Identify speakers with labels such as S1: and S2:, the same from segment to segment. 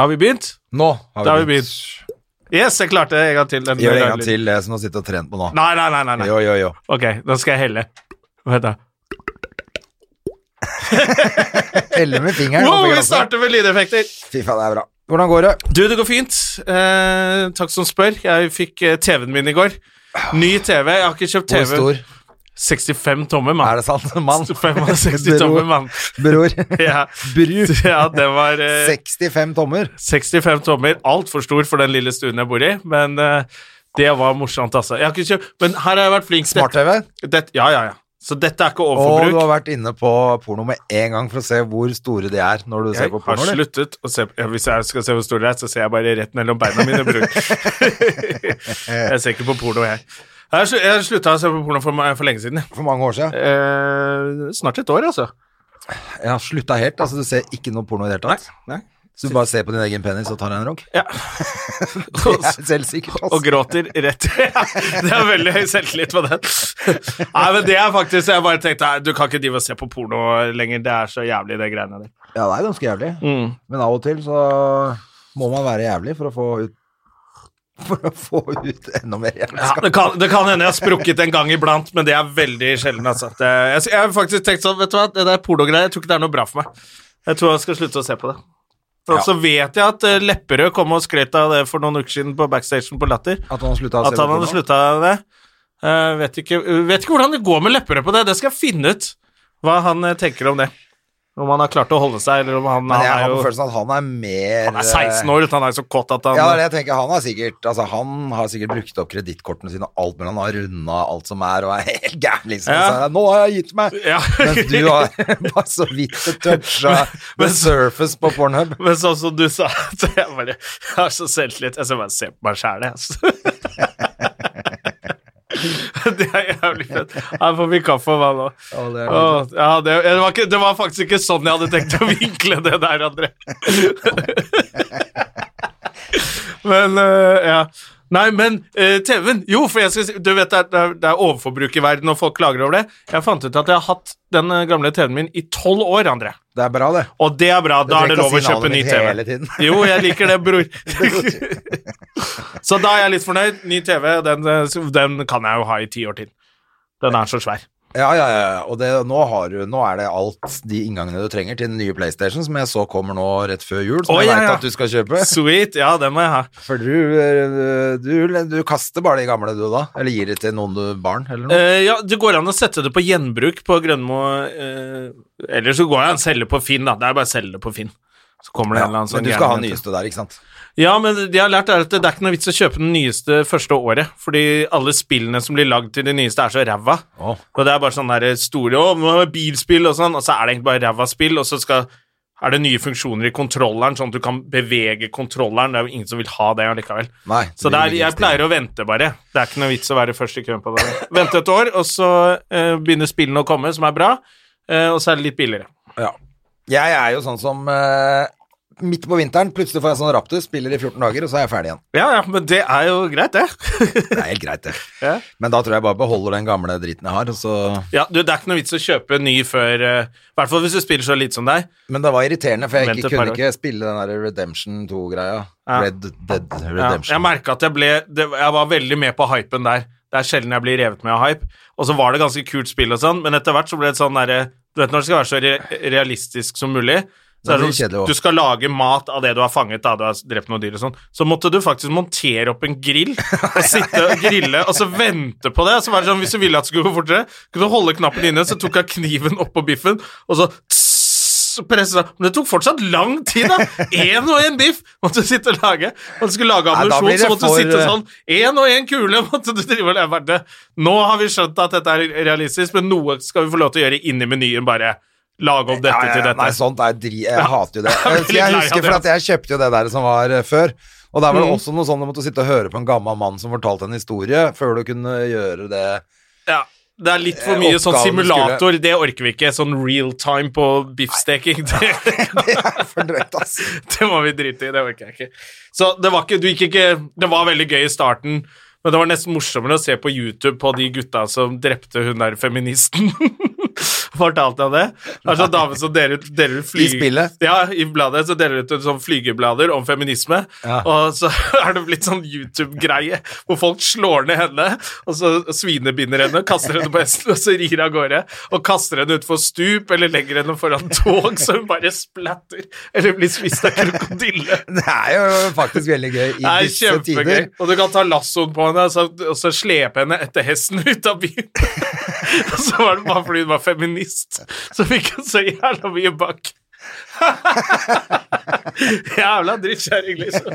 S1: Har vi begynt?
S2: Nå
S1: Da
S2: har
S1: har vi
S2: vi begynt.
S1: Yes, jeg klarte det en gang til. Den
S2: Gjør det en gang
S1: deilige-
S2: til, det som du har sittet og trent på nå.
S1: Nei, nei, nei. nei, nei.
S2: Jo, jo, jo.
S1: Ok, da skal jeg helle. Vent da.
S2: Elle med fingeren.
S1: Wow,
S2: opp i
S1: vi
S2: glasset.
S1: starter med lydeffekter.
S2: Fy faen, det er bra. Hvordan går det?
S1: Du, det går fint. Eh, takk som spør. Jeg fikk eh, TV-en min i går. Ny TV. Jeg har ikke kjøpt TV.
S2: Hvor stor
S1: 65 tommer,
S2: er
S1: mann.
S2: det sant? Mann.
S1: 65 tommer, mann.
S2: Bror.
S1: Ja.
S2: Bru.
S1: ja, det var eh,
S2: 65 tommer.
S1: 65 tommer. Altfor stor for den lille stuen jeg bor i, men eh, det var morsomt, altså. Jeg har ikke kjøpt, men her har jeg vært flink.
S2: Smart-TV.
S1: Dette, ja, ja, ja. Så dette er ikke
S2: Og du
S1: overforbruk.
S2: har vært inne på porno med en gang for å se hvor store de er når du ser
S1: Jeg
S2: på
S1: har
S2: porno. eller?
S1: sluttet å se på ja, Hvis jeg skal se hvor stor det er, så ser jeg bare rett mellom beina mine. Bror. jeg ser ikke på porno, jeg. Jeg har slu- Jeg har slutta å se på porno for, meg- for lenge siden. jeg.
S2: For mange år siden.
S1: Eh, snart et år, altså.
S2: Jeg har slutta helt. altså Du ser ikke noe porno i det hele tatt. Så du bare ser på din egen penis og tar deg en rogg?
S1: Ja.
S2: Det er altså. selvsikkert.
S1: Og
S2: ass.
S1: gråter rett ja, Det er veldig høy selvtillit på den. Nei, men det er faktisk Jeg bare tenkte nei, du kan ikke drive og se på porno lenger. Det er så jævlig, det greiene der.
S2: Ja, det er ganske jævlig.
S1: Mm.
S2: Men av og til så må man være jævlig for å få ut For å få ut enda mer
S1: Ja,
S2: jævelskap.
S1: det, kan, det kan hende jeg har sprukket en gang iblant, men det er veldig sjelden. Altså. Det, jeg, jeg har faktisk tenkt sånn, vet du hva, det der pornogreier, jeg tror ikke det er noe bra for meg. Jeg tror jeg skal slutte å se på det. Og så vet jeg at eh, Lepperød kom og skrøt av det for noen uker siden på backstagen på Latter.
S2: At han slutta å se på
S1: At han hadde
S2: porno.
S1: slutta det. Eh, vet, ikke, vet ikke hvordan det går med Lepperød på det. Det skal jeg finne ut, hva han eh, tenker om det. Om han har klart å holde seg, eller om han,
S2: Men jeg
S1: han
S2: har
S1: er
S2: på
S1: jo
S2: følelsen at han er mer eh,
S1: han er 16 år, uten han er jo så kåt at han
S2: Ja, det er det jeg tenker. Han har sikkert, altså, han har sikkert brukt opp kredittkortene sine og alt, men han har runda alt som er, og er helt gæren, liksom.
S1: Ja.
S2: Så, nå har jeg gitt meg!
S1: Ja.
S2: Mens du har bare så vidt toucha med Surface på Pornhub.
S1: Men sånn som du sa, at jeg bare jeg har så selvtillit. Jeg skal bare se på meg sjæl, jeg. Altså. det er jævlig fett. Han får mye kaffe og vann òg.
S2: Ja, det er
S1: Åh, ja, det, det, var ikke, det var faktisk ikke sånn jeg hadde tenkt å vinkle det der, André. men øh, ja. Nei, men øh, TV-en Jo, for jeg skal si Du vet det er, det er- det er overforbruk i verden, og folk klager over det. Jeg fant ut at jeg har hatt den øh, gamle TV-en min i tolv år, André.
S2: Det er bra, det.
S1: Og det er bra.
S2: Du
S1: Da er det
S2: trenger
S1: lov å
S2: ikke si
S1: kjøpe
S2: navnet
S1: ny
S2: mitt
S1: TV.
S2: hele tiden.
S1: Jo, jeg liker det, bror. så da er jeg litt fornøyd. Ny TV, den, den kan jeg jo ha i ti år til. Den er så svær.
S2: Ja, ja, ja. Og det, nå, har du, nå er det alt de inngangene du trenger til den nye PlayStation, som jeg så kommer nå rett før jul, som
S1: Å,
S2: jeg
S1: ja,
S2: vet
S1: ja.
S2: at du skal kjøpe.
S1: Sweet. Ja, den må jeg ha.
S2: For du, eh, du, du kaster bare de gamle, du da? Eller gir det til noen du barn, eller noe?
S1: Eh, ja, Det går an å sette det på gjenbruk på Grønmo. Uh, eller så går jeg an å selge på Finn, da. Det er bare å selge det på Finn. Så kommer
S2: Ja,
S1: det en eller
S2: men
S1: annen sånn
S2: du skal ha
S1: gærning-
S2: nyeste der, ikke sant?
S1: Ja, men det jeg har lært er at det er ikke noe vits å kjøpe den nyeste første året, fordi alle spillene som blir lagd til de nyeste er så ræva.
S2: Å.
S1: Og det er bare sånne der store å, nå har vi bilspill og sånn, og så er det egentlig bare ræva spill, og så skal, er det nye funksjoner i kontrolleren, sånn at du kan bevege kontrolleren. Det er jo ingen som vil ha det allikevel.
S2: Nei, det
S1: så
S2: blir
S1: det
S2: jo
S1: er, jeg
S2: riktig.
S1: pleier å vente bare. Det er ikke noe vits å være først i køen på det. Vente et år, og så eh, begynner spillene å komme, som er bra, eh, og så er det litt billigere.
S2: Ja. Jeg er jo sånn som eh, midt på vinteren, plutselig får jeg sånn raptus, spiller i 14 dager, og så er jeg ferdig igjen.
S1: Ja, ja, men det er jo greit, det.
S2: Det er helt greit, det.
S1: ja.
S2: Men da tror jeg bare beholder den gamle driten jeg har, og så
S1: Ja, du, Det er ikke noe vits å kjøpe ny før eh, I hvert fall hvis du spiller så lite som deg.
S2: Men det var irriterende, for jeg
S1: Vent
S2: ikke,
S1: et par
S2: kunne
S1: år.
S2: ikke spille den der Redemption 2-greia.
S1: Ja.
S2: Red Dead
S1: Ja,
S2: Redemption.
S1: jeg merka at jeg ble det, Jeg var veldig med på hypen der. Det er sjelden jeg blir revet med av hype. Og så var det ganske kult spill og sånn, men etter hvert så ble det sånn derre Du vet når det skal være så re realistisk som mulig. Så
S2: Da
S1: er det
S2: blir det kjedelig
S1: sånn,
S2: også.
S1: du skal lage mat av det du har fanget, da du har drept noen dyr og sånn. Så måtte du faktisk montere opp en grill og sitte og grille og så vente på det. Og så var det sånn, hvis du ville at det skulle gå fortere, kunne du holde knappen inne, så tok jeg kniven oppå biffen, og så tss, presset seg. Men det tok fortsatt lang tid, da. Én og én biff måtte du sitte og lage. Og du skulle lage
S2: Nei, da
S1: ammunisjon,
S2: blir det
S1: så måtte
S2: for- eh,
S1: du sitte sånn Én og én kule måtte du drive og leve med. Nå har vi skjønt at dette er realistisk, men noe skal vi få lov til å gjøre inni menyen, bare. lage opp dette
S2: Ja, ja, ja,
S1: til dette.
S2: Nei, sånt er dri... Jeg hater jo det.
S1: Jeg er veldig
S2: Jeg
S1: lei av
S2: husker
S1: det, altså. Mm.
S2: for at jeg kjøpte jo det der som var eh, før. Og der var det også noe sånn du måtte sitte og høre på en gammel mann som fortalte en historie, før du kunne gjøre det.
S1: Ja, det er litt for
S2: Eh,
S1: mye sånn
S2: oppgaven
S1: simulator, det orker vi ikke. Sånn real time på biffsteking, det,
S2: Det er for drøyt, ass.
S1: det må vi drite i, det orker jeg ikke. Så det var ikke, du gikk ikke Det var veldig gøy i starten, men det var nesten morsommere å se på YouTube på de gutta som drepte hun der feministen. Fortalte jeg det? Det er sånn dame som deler ut, deler ut flyge-
S2: I spillet?
S1: Ja, i bladet så deler de ut sånn flygeblader om feminisme,
S2: Ja.
S1: og så er det blitt sånn YouTube-greie hvor folk slår ned henne, og så svinebinder henne, kaster henne på hesten, og så rir av gårde, og kaster henne utfor stup, eller legger henne foran tog, så hun bare splatter, eller blir spist av krokodille.
S2: Det er jo faktisk veldig gøy i
S1: Det er
S2: disse
S1: kjempegøy.
S2: tider.
S1: Og du kan ta lassoen på henne og så, og så slepe henne etter hesten ut av byen. og så var det bare fordi hun var feminist, så fikk hun så jævla mye bak. jævla drittkjerring, liksom.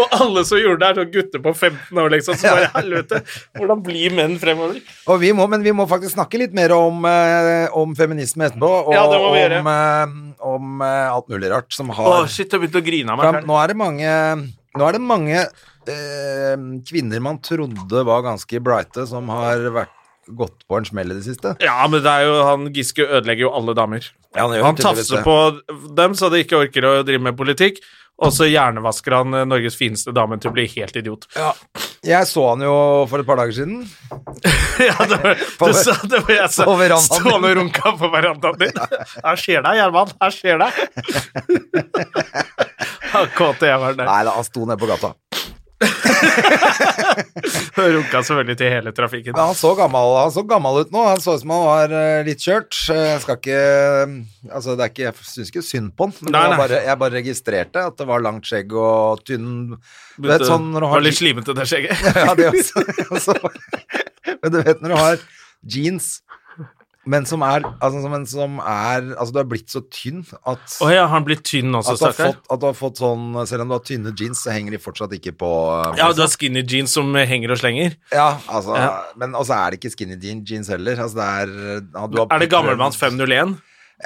S1: Og alle som gjorde det, er sånn gutter på 15 år, liksom. Så bare helvete, hvordan blir menn fremover?
S2: Og vi må, men vi må faktisk snakke litt mer om, eh, om feminisme etterpå, og
S1: Ja, det må vi
S2: om, eh, om eh, alt mulig rart som
S1: Å,
S2: har
S1: shit, jeg begynte å grine av
S2: fram.
S1: meg. selv.
S2: Nå er det mange, nå er det mange eh, kvinner man trodde var ganske brighte, som har vært, gått på en smell i det siste.
S1: Ja, men det er jo, han Giske ødelegger jo alle damer.
S2: Ja, gjør
S1: Han
S2: tydeligvis
S1: tafser
S2: det.
S1: på dem så de ikke orker å drive med politikk, og så hjernevasker han eh, Norges fineste dame til å bli helt idiot. Ja,
S2: Jeg så han jo for et par dager siden.
S1: det, var,
S2: På-
S1: du sa det var jeg sa,
S2: på verandaen
S1: sto han og runka på verandaen din. Her skjer det, Gjerman. Her skjer det. Han kåte jævelen der.
S2: Nei da, han sto nede på gata.
S1: Runka selvfølgelig til hele trafikken.
S2: Men han så gammel, han så gammel ut nå. Han så ut som han var eh, litt kjørt. Eh, Jeg skal ikke Altså, det er ikke Jeg syns ikke synd på han, men det
S1: Nei,
S2: var
S1: nei.
S2: Bare, jeg bare registrerte at det var langt skjegg og tynn Du vet
S1: Begynte-
S2: sånn når du
S1: var
S2: har
S1: litt slimete, det skjegget.
S2: Ja, det også. Altså, men du vet når du har jeans men som er, altså, som en, som er altså, du er blitt så tynn at,
S1: Å ja, han blir tynn også,
S2: at, du har
S1: stakkar.
S2: Altså, fått, at du har fått sånn Selv om du har tynne jeans, så henger de fortsatt ikke på eh,
S1: Ja, du har skinny jeans som eh, henger og slenger.
S2: Ja, altså,
S1: Ja.
S2: men også er det ikke skinny jean, jeans heller. Altså, det er, ja, du har-
S1: Er det gammelmanns 501?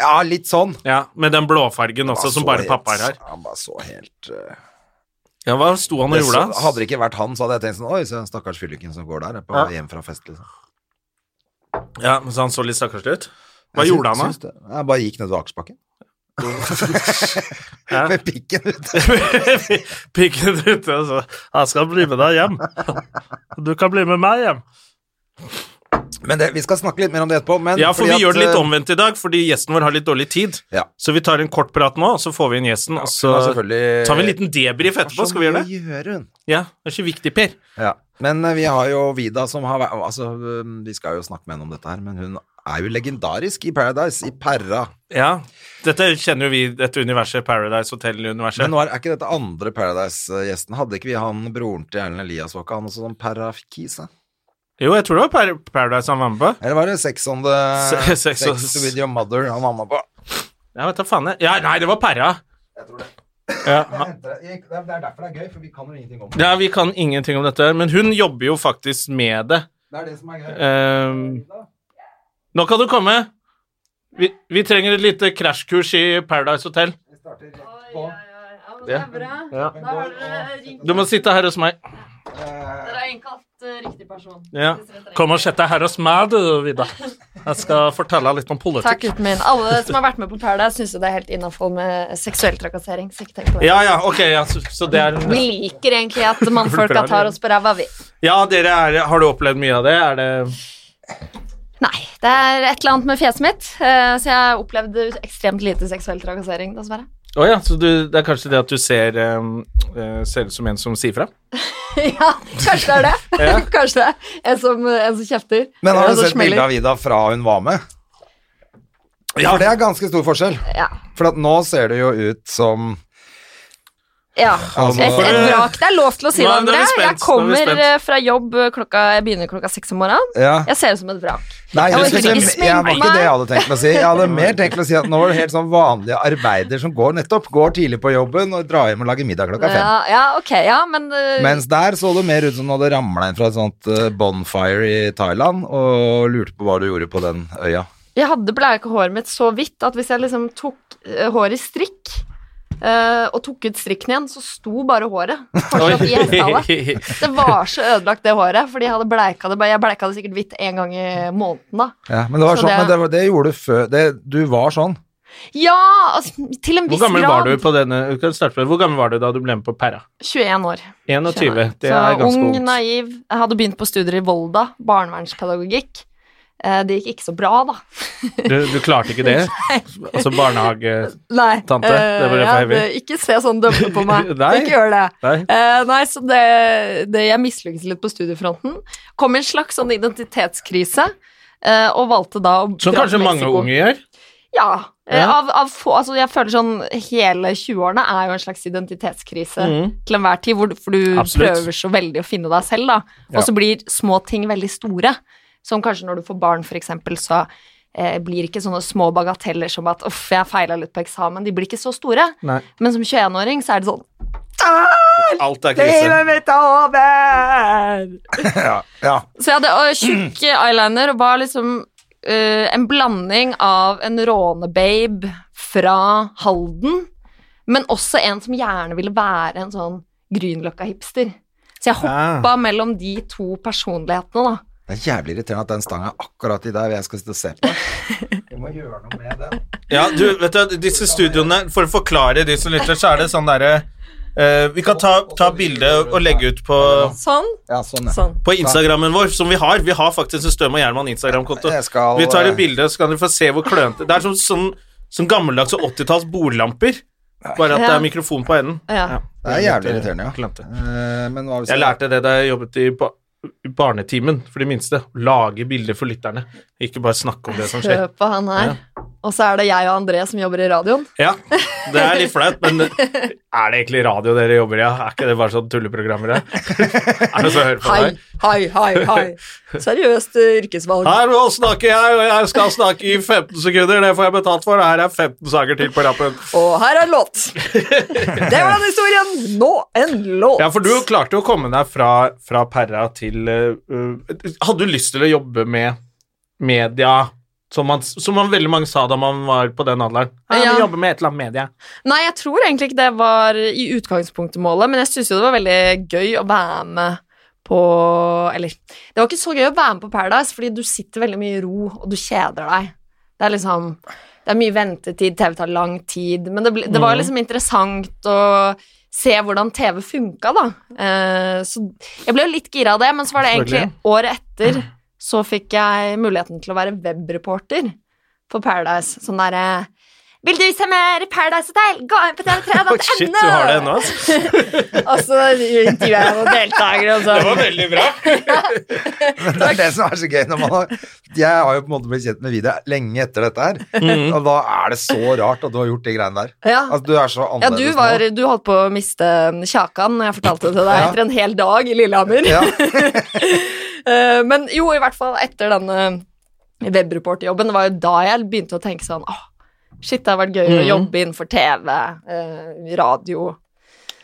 S2: Ja, litt sånn.
S1: Ja, med den blåfargen også,
S2: Han
S1: Altså, som
S2: så
S1: bare
S2: helt-
S1: pappaer har.
S2: Han bare så helt eh,
S1: Ja, hva sto han og
S2: jeg
S1: gjorde?
S2: så-
S1: da?
S2: Hadde det ikke vært han, så hadde jeg tenkt sånn Oi, se den stakkars fylliken som går der på
S1: Ja.
S2: hjem fra fest, liksom.
S1: Ja, men så han så litt stakkarslig ut? Hva
S2: Jeg
S1: gjorde
S2: syns-
S1: han da?
S2: syns det. Jeg bare gikk nedover Akersbakken.
S1: Ja.
S2: Med pikken ute.
S1: Pikken ute altså. og så 'Jeg skal bli med deg hjem'. 'Du kan bli med meg hjem'.
S2: Men det, vi skal snakke litt mer om det etterpå. Men
S1: Ja, for
S2: fordi
S1: vi gjør det
S2: at,
S1: litt
S2: eh,
S1: omvendt i dag, fordi gjesten vår har litt dårlig tid.
S2: Ja.
S1: Så vi tar en kort prat nå, og så får vi inn gjesten,
S2: hun har
S1: og så
S2: selvfølgelig-
S1: altså,
S2: eh,
S1: tar vi en liten debrief etterpå. Skal vi gjøre det?
S2: Så mye å gjøre, hun.
S1: Ja, det er ikke viktig, Per.
S2: Ja. Men eh, vi har jo Vida som har vært Altså, eh, vi skal jo snakke med henne om dette her, men hun er jo legendarisk i Paradise, i Perra.
S1: Ja, dette kjenner jo vi, dette universet, Paradise Hotel-universet.
S2: Men nå er, er ikke dette andre Paradise-gjesten? Hadde ikke vi han broren til Erlend Elias, var ikke han også sånn parafikis? da?
S1: Jo, jeg tror det var Par- Paradise han var med på.
S2: Eller var det Sex on the
S1: Se-
S2: Sex,
S1: Sex on-
S2: with your mother han var med på?
S1: Ja, vet da faen jeg. Ja, nei, det var Perra. Ja, han-
S2: Det er derfor det er gøy, for vi kan jo ingenting om
S1: Ja, vi kan ingenting om dette, her, men hun jobber jo faktisk med det.
S2: Det er det som er gøy.
S1: Ehm, nå kan du komme. Vi, vi trenger et lite krasjkurs i Paradise Hotel.
S3: Ja, men det er bra. Da har dere ringt
S1: Du må sitte her hos meg.
S3: Dere har innkalt eh, riktig person.
S1: Ja. Kom og sett deg her hos meg, du, Vida. Jeg skal fortelle litt om politikk.
S3: Takk, gutten min. Alle som har vært med på Paradise, syns jo det er helt innafor med seksuell trakassering. Så ikke tenk på det.
S1: Ja, ja, ok, ja, så, så det er
S3: Vi liker egentlig at mannfolka tar oss på ræva, vi.
S1: Ja, dere er Har du opplevd mye av det? Er det
S3: Nei, det er et eller annet med fjeset mitt, eh, så jeg opplevde ekstremt lite seksuell trakassering, dessverre.
S1: Å ja, så du, det er kanskje det at du ser ehm, eh, Ser ut som en som sier fra?
S3: Ja, kanskje det er det. Kanskje det. er En som, en som kjefter.
S2: Men har
S3: En
S2: du
S3: som
S2: sett
S3: smeller.
S2: bilde av Ida fra hun var med?
S1: Ja.
S2: For det er ganske stor forskjell.
S3: Ja.
S2: For at nå ser det jo ut som
S3: Ja,
S2: Altså-
S3: et, et vrak. Det er lov til å si det,
S1: Nei, nå er vi spent, nå
S3: André.
S1: er
S3: Jeg
S1: vi
S3: kommer
S1: spent.
S3: eh, fra jobb eh, klokka Jeg begynner klokka seks om morgenen.
S2: Ja.
S3: Jeg ser ut som et vrak.
S2: Nei,
S3: Jeg
S2: jeg,
S3: var
S2: skulle
S3: ikke
S2: si-
S3: sminket
S2: jeg var ikke
S3: meg.
S2: det jeg hadde tenkt å si. Jeg hadde mer tenkt å si at nå var det helt sånn vanlige arbeider som går nettopp, går tidlig på jobben og drar hjem og lager middag klokka fem.
S3: Ja, ja, ok, ja, men eh,
S2: Mens der så det mer ut som du hadde ramla inn fra et sånt eh, bonfire i Thailand og lurte på hva du gjorde på den øya.
S3: Jeg hadde bleika håret mitt så vidt at hvis jeg liksom tok eh, håret i strikk eh, og tok ut strikken igjen, så sto bare håret fortsatt i hestehallet. Det var så ødelagt, det håret, fordi jeg hadde bleika det bare- Jeg bleika det sikkert hvitt en gang i måneden, da.
S2: Ja, men det var
S3: Så
S2: sånn,
S3: det-
S2: men det, var- det gjorde du før det, Du var sånn.
S3: Ja, altså, til en viss
S1: Hvor gammel
S3: grad.
S1: var du på denne vi kan starte med- Hvor gammel var du da du ble med på Perra?
S3: 21 år.
S1: 21. Det
S3: så
S1: er ganske
S3: ung,
S1: ungt.
S3: naiv. Jeg hadde begynt på studier i Volda, barnevernspedagogikk. Eh, Det gikk ikke så bra, da.
S1: Du, du klarte ikke det? Altså barnehage
S3: Nei.
S1: Tante, det var det for
S3: eh,
S1: heavy.
S3: jeg- Ikke se sånn dømmende på meg.
S1: Nei.
S3: Ikke gjør det.
S1: Nei.
S3: Eh, nei, så det, det Jeg mislykkes litt på studiefronten. Kom i en slags sånn identitetskrise, eh, og valgte da å
S1: Som
S3: dra
S1: kanskje
S3: til
S1: mange
S3: Mexico.
S1: unge gjør.
S3: Ja. eh,
S1: Ja.
S3: Av, av få, altså jeg føler sånn Hele 20-årene er jo en slags identitetskrise
S1: Mhm.
S3: til enhver tid, hvor, du- for du
S1: Absolutt.
S3: prøver så veldig å finne deg selv, da. Og så blir små ting veldig store. Som kanskje når du får barn, for eksempel, så eh, blir ikke sånne små bagateller som at 'uff, jeg feila litt på eksamen', de blir ikke så store.
S1: Nei.
S3: Men som 21-åring så er det sånn
S1: Alt er krise.
S3: mitt er over!
S2: Ja.
S3: Så jeg hadde øh, tjukk eyeliner og var liksom øh, en blanding av en rånebabe fra Halden, men også en som gjerne ville være en sånn Grünerløkka-hipster. Så jeg hoppa
S1: Ah.
S3: mellom de to personlighetene, da.
S2: Det er jævlig irriterende at den stanga er akkurat i der jeg skal sitte og se på. Vi må gjøre noe med den.
S1: Ja, du, vet du, disse studioene, for å forklare de som lytter, så er det sånn derre eh, Vi kan ta, ta bilde og legge ut på,
S3: Sånn.
S2: Ja, sånn, ja.
S3: sånn.
S1: på Instagrammen vår, som vi har. Vi har faktisk en Støm og Gjerman Instagram-konto.
S2: Jeg skal- eh,
S1: Vi tar et bilde, så kan dere få se hvor klønete Det er som, sånn, sånn gammeldags 80-talls bordlamper, bare at det
S3: Ja.
S1: er mikrofon på enden.
S3: Ja.
S2: Det er jævlig irriterende, ja.
S1: Klønete.
S2: Eh, Men hva hvis
S1: Jeg lærte det da jeg jobbet i ba i barnetimen for de minste. Lage bilder for lytterne, ikke bare snakke om det som skjer.
S3: Hør på han her. Og så er det jeg og André som jobber i radioen.
S1: Ja, det er litt flaut, men er det egentlig radio dere jobber i? Ja? Er ikke det bare sånn tulleprogrammer? ja? Er det så å høre på
S3: Hei,
S1: deg?
S3: hei, hei, hei. Seriøst øh, yrkesvalg.
S1: Her nå snakker jeg, og jeg skal snakke i 15 sekunder. Det får jeg betalt for. Her er 15 saker til på rappen.
S3: Og her er en låt. Det var den historien. Nå en låt.
S1: Ja, for du klarte jo å komme deg fra, fra Perra til eh, uh, Hadde du lyst til å jobbe med media, som man, som man veldig mange sa da man var på den alderen? Ja,
S3: Ja.
S1: vi jobber med et eller annet media.
S3: Nei, jeg tror egentlig ikke det var i utgangspunktet målet, men jeg syntes jo det var veldig gøy å være med på Eller det var ikke så gøy å være med på Paradise, fordi du sitter veldig mye i ro, og du kjeder deg. Det er liksom Det er mye ventetid, TV tar lang tid, men det, ble, det var liksom interessant å se hvordan TV funka, da. Eh, så jeg ble jo litt gira av det, men så var det egentlig
S1: Selvfølgelig.
S3: året etter så fikk jeg muligheten til å være webreporter på Paradise. Sånn derre vil du se mer Paradise Hotel? Gå inn på tv3.no!
S1: Oi, shit, du har det ennå, altså.
S3: Og så intervjuet jeg noen deltakere og
S1: Det var
S3: sånn.
S1: veldig bra.
S2: Men det er det som er så gøy når man har Jeg har jo på en måte blitt kjent med Vidar lenge etter dette her, og da er det så rart at du har gjort de greiene der.
S3: Ja.
S2: Altså, du er så
S3: Ja, du,
S2: annerledes
S3: var,
S2: nå.
S3: du holdt på å miste kjakan når jeg fortalte det til deg
S2: Ja.
S3: etter en hel dag i Lillehammer.
S2: Ja.
S3: Eh, Men jo, i hvert fall etter denne webreporterjobben, det var jo da jeg begynte å tenke sånn åh, shit, det har vært gøy å
S1: Mm.
S3: jobbe innenfor TV, eh, radio.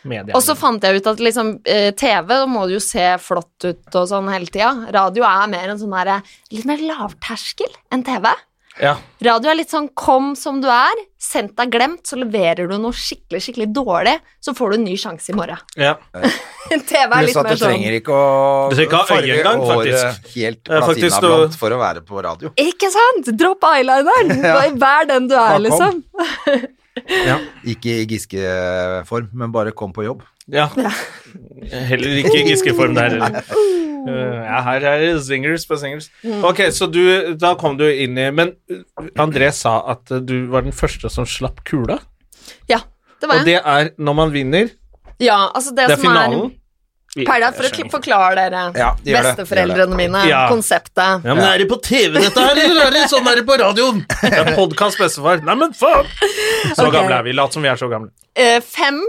S1: Media.
S3: Og så fant jeg ut at liksom, eh, TV da må du jo se flott ut og sånn hele tida. Radio er mer en sånn derre litt mer lavterskel enn TV.
S1: Ja.
S3: Radio er litt sånn kom som du er, sendt deg glemt, så leverer du noe skikkelig, skikkelig dårlig, så får du en ny sjanse i morgen.
S1: Ja.
S3: TV er
S2: Pluss
S3: litt
S2: at
S3: mer
S2: du
S3: sånn.
S2: trenger ikke å
S1: Du trenger ikke ha øyeengang,
S2: håret
S1: faktisk.
S2: helt
S1: Det er faktisk å-
S2: platinablant for å være på radio.
S3: Ikke sant? Dropp eyelineren! Vær den du er,
S2: Bare kom.
S3: liksom.
S2: Ikke i Giske-form, men bare kom på jobb.
S1: ja. Heller ikke i Giske-form der. eller? Uh, ja, her er det zingers på zingers. Ok, så du, da kom du inn i Men uh, André sa at uh, du var den første som slapp kula.
S3: Ja, det var
S1: Og
S3: jeg.
S1: det er når man vinner.
S3: Ja, altså det,
S1: Det er
S3: som
S1: finalen.
S3: er Paradise, for å kli- forklare dere,
S2: Ja, gjør det, gjør det.
S3: besteforeldrene mine,
S1: Ja.
S3: konseptet.
S1: Ja, men Er det på TV, dette her, eller er det sånn er det på radioen? Det er podkast, bestefar. Nei, men faen! Så
S3: Ok.
S1: gamle er vi. Lat som vi er så gamle.
S3: Eh, fem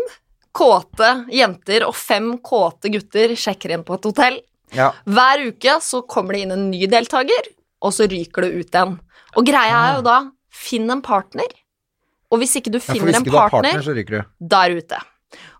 S3: kåte jenter og fem kåte gutter sjekker inn på et hotell.
S2: Ja.
S3: Hver uke så kommer det inn en ny deltaker, og så ryker det ut en. Og greia er jo da, finn en partner. Og hvis ikke du
S2: Ja, for
S3: finner
S2: hvis
S3: en
S2: ikke du har
S3: partner,
S2: partner, så ryker du.
S3: da er du ute.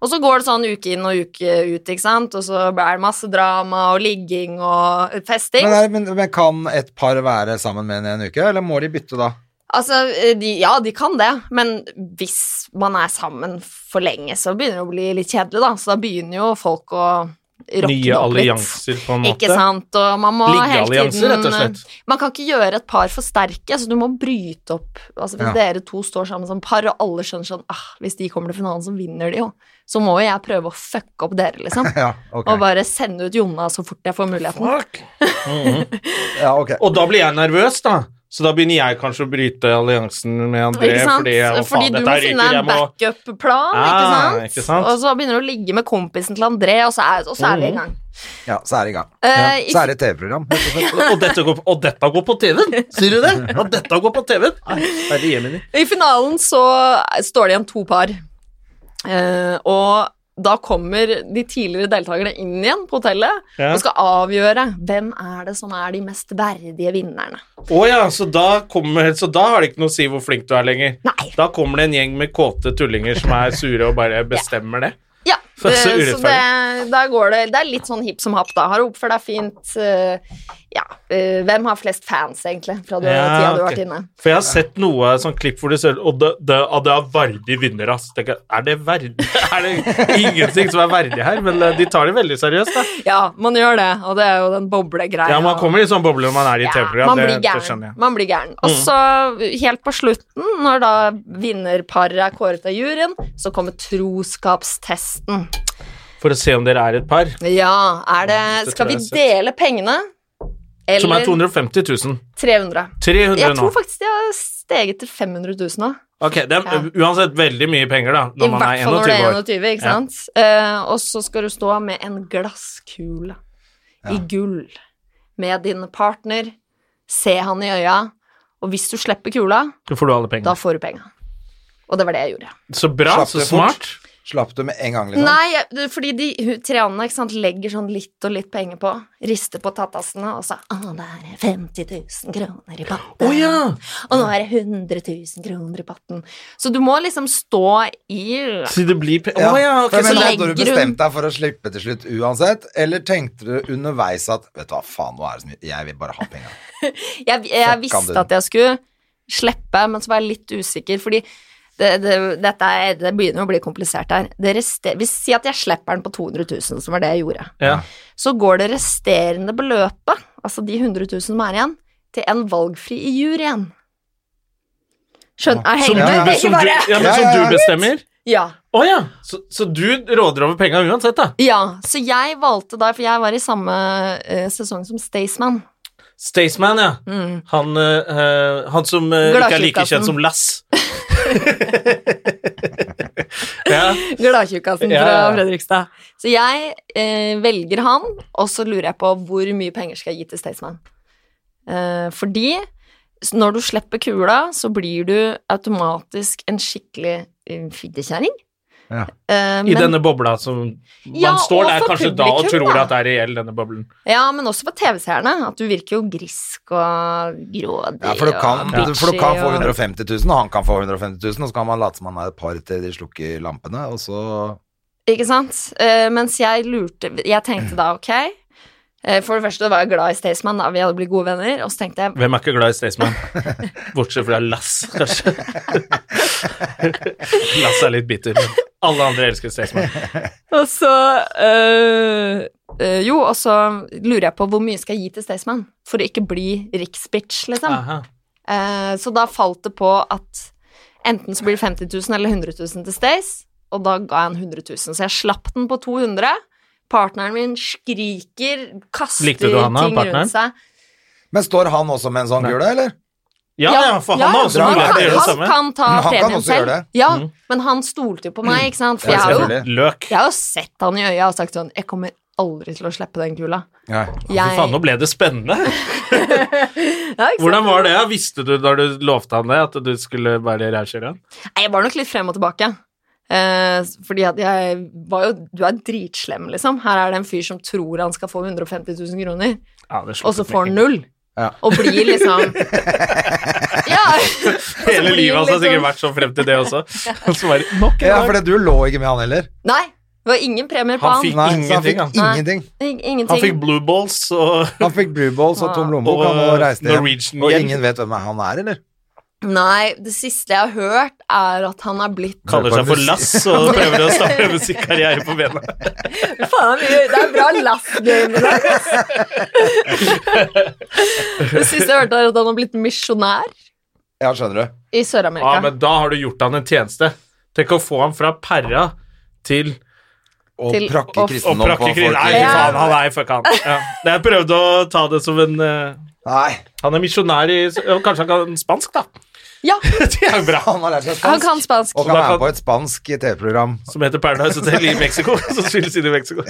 S3: Og så går det sånn uke inn og uke ut, ikke sant? og så er det masse drama og ligging og festing.
S2: Men, er, men, men kan et par være sammen med en i en uke, eller må de bytte da?
S3: Altså, de, ja, de kan det, men hvis man er sammen for lenge, så begynner det å bli litt kjedelig, da. Så da begynner jo folk å rocke det
S1: Nye
S3: opp litt.
S1: allianser, på en måte.
S3: Ikke sant? Og man må hele
S1: Liggeallianser,
S3: tiden
S1: rett og slett.
S3: Man kan ikke gjøre et par for sterke, så du må bryte opp. Altså, hvis
S2: Ja.
S3: dere to står sammen som par, og alle skjønner sånn ah, Hvis de kommer til finalen, så vinner de jo. Så må jo jeg prøve å fucke opp dere, liksom.
S2: Ja, ok.
S3: Og bare sende ut Jonna så fort jeg får muligheten.
S2: Ja, ok.
S1: Og da blir jeg nervøs, da. Så da begynner jeg kanskje å bryte alliansen med André.
S3: Ikke sant?
S1: Fordi,
S3: Fordi,
S1: jeg, å, faen,
S3: du
S1: dette
S3: må
S1: her
S3: finne
S1: ryker,
S3: en
S1: jeg må-
S3: backup-plan, ikke,
S1: Ah,
S3: sant?
S1: ikke sant? Mm.
S3: Og så begynner du å ligge med kompisen til André, og så er, og så er vi i gang.
S2: Ja, så er det i gang.
S3: Eh, i-
S2: Så er det et TV-program. rett og slett.
S1: og, dette går, og dette går på TV-en! Sier du det? Og dette går på TV-en! Nei, herre jemini.
S3: I finalen så står det igjen to par. Eh, og da kommer de tidligere deltakerne inn igjen på hotellet
S1: Ja.
S3: og skal avgjøre hvem er det som er de mest verdige vinnerne.
S1: Å ja, så da, kommer, så da har det ikke noe å si hvor flink du er lenger.
S3: Nei.
S1: Da kommer det en gjeng med kåte tullinger som er sure og bare bestemmer det.
S3: Ja,
S1: Så
S3: det, så
S1: urettferdig.
S3: det, da går det, det er litt sånn hipp som happ, da. Har du oppført deg fint? eh, ja. eh, hvem har flest fans, egentlig, fra du,
S1: Ja,
S3: tida du har
S1: ok.
S3: vært inne?
S1: For jeg har sett noe sånn klipp hvor de ser Og det, det, ah, det er verdig vinner, ass. Tenker jeg, Er det verdig? Er det ingenting som er verdig her? Men eh, de tar det veldig seriøst, da.
S3: Ja, man gjør det, og det er jo den boblegreia.
S1: Ja, man kommer i sånn boble når man er i
S3: Ja,
S1: TV-program.
S3: man
S1: Det,
S3: blir
S1: det
S3: gæren.
S1: skjønner jeg. Mm.
S3: Man blir gæren. Og så, helt på slutten, når da vinnerparet er kåret av juryen, så kommer troskapstesten.
S1: For å se om dere er et par.
S3: Ja, er det
S1: Mm, Det
S3: Skal
S1: tror
S3: vi
S1: jeg jeg
S3: dele pengene?
S1: Som
S3: Eller
S1: er 250 000.
S3: 300?
S1: 300
S3: Jeg
S1: 000
S3: tror
S1: nå.
S3: faktisk de har steget til 500 000 nå.
S1: Ok, det er
S3: Ja.
S1: uansett veldig mye penger, da.
S3: I
S1: Når man
S3: hvert
S1: er
S3: fall når du
S1: 21
S3: er
S1: år.
S3: 21, ikke
S1: Ja.
S3: sant? Eh, og så skal du stå med en glasskule i gull med din partner, se han i øya, og hvis du slipper kula,
S1: Så får du alle
S3: Da
S1: pengene.
S3: får du penga. Og det var det jeg gjorde.
S1: Så bra,
S2: Slapp
S1: så
S2: det fort.
S1: smart.
S2: Slapp du med en gang, liksom?
S3: Nei, jeg- det- fordi de hu- Trianne ikke sant, legger sånn litt og litt penger på. Rister på tattasene, og så Å, det er 50 000 kroner i potten.
S1: Å ja!
S3: Og nå er det 100 000 kroner i potten. Så du må liksom stå i
S1: Så det blir pe Å ja, ok.
S2: For jeg
S3: så
S2: mener,
S3: legger
S2: Hadde du
S3: hun-
S2: bestemt deg for å slippe til slutt uansett, eller tenkte du underveis at Vet du hva, faen, nå er det så mye Jeg vil bare ha penga.
S3: Jeg, jeg
S2: Fuck,
S3: visste
S2: Andun.
S3: at jeg skulle slippe, men så var jeg litt usikker, fordi det, det, dette er, det begynner å bli komplisert her. Det reste- hvis Si at jeg slipper den på 200 000, som var det jeg gjorde.
S1: Ja.
S3: så går det resterende beløpet, altså de 100 000 som er igjen, til en valgfri i juryen. Skjønner jeg
S1: Som, du,
S3: henger med?
S1: som,
S3: Ikke
S1: du,
S3: bare-
S1: ja, men,
S2: Ja, ja,
S1: som
S2: ja.
S1: du bestemmer?
S3: Ja.
S1: Å ja! Så, så du råder over penga uansett, da.
S3: ja. Så jeg valgte da, for jeg var i samme eh, sesong som Staysman.
S1: Staysman, ja.
S3: Mm.
S1: Han, eh, han som eh, ikke er like
S3: Gladtjukkasen.
S1: kjent som Lass. ja.
S3: Gladtjukkasen
S1: Ja, ja,
S3: fra
S1: ja.
S3: Fredrikstad. Så jeg eh, velger han, og så lurer jeg på hvor mye penger skal jeg gi til Staysman. Eh, fordi s- når du slipper kula, så blir du automatisk en skikkelig eh, fittekjerring.
S2: Ja.
S1: I
S3: Eh, men-
S1: denne bobla som Man
S3: Ja,
S1: står
S3: og
S1: der
S3: for
S1: kanskje da og
S3: publikum,
S1: tror
S3: da.
S1: at det er reell, denne boblen.
S3: Ja, men også for TV-seerne. At du virker jo grisk og grådig.
S2: Ja, for, du kan,
S3: og bitchy
S2: for du kan få
S3: og-
S2: 150 000, og han kan få 150 000, og så kan man late som man er et par til de slukker lampene, og så
S3: Ikke sant? Eh, mens jeg lurte Jeg tenkte da, ok eh, For det første var jeg glad i Staysman, da. Vi hadde blitt gode venner. Og så tenkte jeg
S1: Hvem er ikke glad i Staysman? Bortsett fra Lass, kanskje. Lass er litt bitter, men alle andre elsker Staysman.
S3: Og så eh, eh, Jo, og så lurer jeg på hvor mye skal jeg gi til Staysman for å ikke bli riksbitch, liksom.
S1: Aha.
S3: Eh, så da falt det på at enten så blir det 50 000 eller 100 000 til Stace, og da ga jeg han 100 000. Så jeg slapp den på 200. Partneren min skriker, kaster
S1: Likte du han da,
S3: ting
S1: partneren?
S3: rundt seg.
S2: Men står han også med en sånn kule, eller?
S1: Ja, ja, for han
S3: ja,
S1: har også
S2: bra.
S3: han
S1: mulighet til å gjøre det
S3: kan-
S1: samme.
S3: Han kan ta
S2: Men han kan
S3: premien
S2: også gjøre
S3: selv.
S2: det.
S3: Ja,
S1: Mm.
S3: men han stolte jo på meg, ikke sant? For
S2: Ja,
S3: jeg har jo,
S2: selvfølgelig.
S1: Løk.
S3: jeg har jo sett han i øya og sagt sånn Jeg kommer aldri til å slippe den kula.
S2: Ja.
S1: Fy faen, nå
S3: Jeg,
S1: ble det spennende.
S3: Ja, ikke sant?
S1: Hvordan var det? ja? Visste du da du lovte han det, at du skulle være rævkjøreren?
S3: Nei, jeg var nok litt frem og tilbake. Eh, fordi at jeg var jo Du er dritslem, liksom. Her er det en fyr som tror han skal få 150 000 kroner,
S1: Ja, det sluttet
S3: og så får
S1: med
S3: han null.
S2: Ja.
S3: Og blir liksom Ja.
S1: Hele
S3: blir
S1: livet hans har
S3: liksom-
S1: sikkert vært sånn frem til det også. Og så bare, nok en
S2: Ja,
S1: gang.
S2: for det, du lå ikke med han heller.
S3: Nei, det var ingen premier på
S1: Han
S3: han.
S1: fikk-
S2: Nei, så han
S1: Ingenting,
S2: fikk
S1: han.
S3: Nei.
S2: ingenting.
S3: I- Ingenting.
S1: Han fikk blue balls og
S2: Han fikk blue balls og tom lommebok,
S1: Og, eh,
S2: han må reise ned.
S1: Norwegian
S2: Og
S1: gjeld.
S2: ingen vet hvem han er, eller?
S3: Nei, det siste jeg har hørt, er at han er blitt
S1: kaller seg for Lass og prøver å starte en musikkarriere på bena.
S3: Faen, det er bra last-game i dag, ass. Det siste jeg hørte, er at han har blitt misjonær
S2: Ja, skjønner du.
S3: i
S1: Ja,
S3: Sør-Amerika.
S1: men da har du gjort han en tjeneste. Tenk å få han fra perra til
S2: Og
S3: Til-
S2: prakke
S3: og-
S1: å
S2: kristendom på
S1: prakke krig.
S2: folk.
S1: Nei, fy faen, han er fuck han. Ja. Jeg prøvde å ta det som en eh,
S2: Nei,
S1: Han er misjonær i ja, Kanskje han kan spansk, da?
S3: Ja,
S1: Det er jo bra.
S2: han har lært seg
S3: han
S2: spansk.
S3: kan spansk.
S2: Og
S1: Så
S2: kan
S1: da
S2: være
S1: kan-
S2: med på et spansk TV-program.
S1: Som heter Paradise Hotel i Mexico. Som spilles inn i Mexico.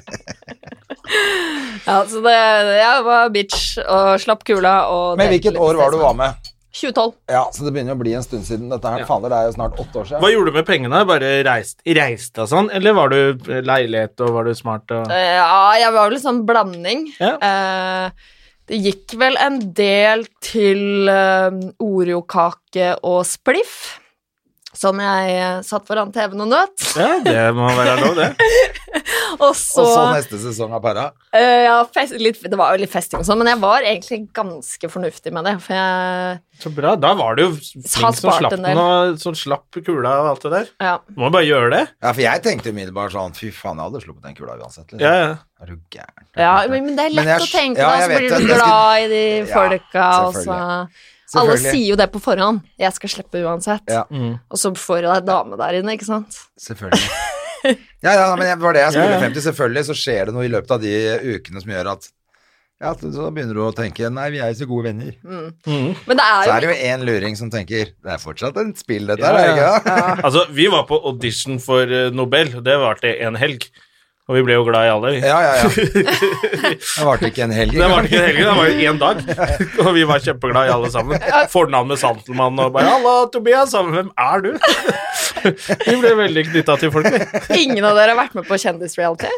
S3: Ja, så det, jeg var bitch og slapp kula og
S2: Men hvilket år var du var med?
S3: 2012.
S2: Ja, så det begynner å bli en stund siden. Dette her, fader, det er jo snart åtte år
S1: Hva
S2: siden.
S1: gjorde du med pengene? Bare reist, reiste og sånn? Eller var du leilighet, og var du smart? Og...
S3: Eh, Ja, jeg var vel en sånn blanding.
S1: Ja.
S3: Eh, det gikk vel en del til eh, Oreo-kake og spliff, som jeg eh, satt foran TV-en og nøt.
S1: Ja, det må være lov, det.
S3: Og så,
S2: Og så neste sesong av Para.
S3: eh, ja, fest, litt, Det var jo litt festing og sånn, men jeg var egentlig ganske fornuftig med det. For jeg
S1: Så bra. Da var du jo
S3: Har
S1: flink som
S3: spart
S1: slapp,
S3: en del.
S1: den, og, som slapp kula og alt det der.
S3: Ja.
S1: Du må bare gjøre det.
S2: Ja, for jeg tenkte umiddelbart sånn, fy faen, jeg hadde sluppet den kula uansett. Liksom.
S1: Ja, ja.
S2: Er du gæren?
S3: ja men, men det er
S2: Men
S3: lett
S2: jeg
S3: å tenke,
S2: skj- ja,
S3: da, så
S2: jeg vet
S3: blir du
S2: det. Jeg
S3: glad i de
S2: Ja,
S3: folka, og så
S2: selvfølgelig.
S3: Alle
S2: Selvfølgelig.
S3: sier jo det på forhånd. 'Jeg skal slippe uansett.'
S2: Ja.
S3: Og så får du deg dame der inne, ikke sant?
S2: Selvfølgelig. Ja, ja, men det var det jeg skulle
S1: Ja, ja.
S2: frem til. Selvfølgelig så skjer det noe i løpet av de ukene som gjør at ja, så så begynner du å tenke Nei, vi er jo så gode venner.
S3: Men det
S2: Så
S3: er jo
S2: er det jo én luring som tenker Det er fortsatt en spill, dette
S1: Ja,
S2: her, er det
S1: ja.
S2: ikke det?
S1: Altså, vi var på audition for eh, Nobel. og Det varte en helg. Og vi ble jo glad i alle. vi.
S2: Ja, ja, ja. Det varte ikke en helg.
S1: Det varte ikke en helg, det var jo én dag. Og vi var kjempeglad i alle sammen. Fornavn med Santelmann og bare 'Halla, Tobias'. sa vi, Hvem er du? Vi ble veldig knytta til folk, vi.
S3: ingen av dere har vært med på kjendisreality.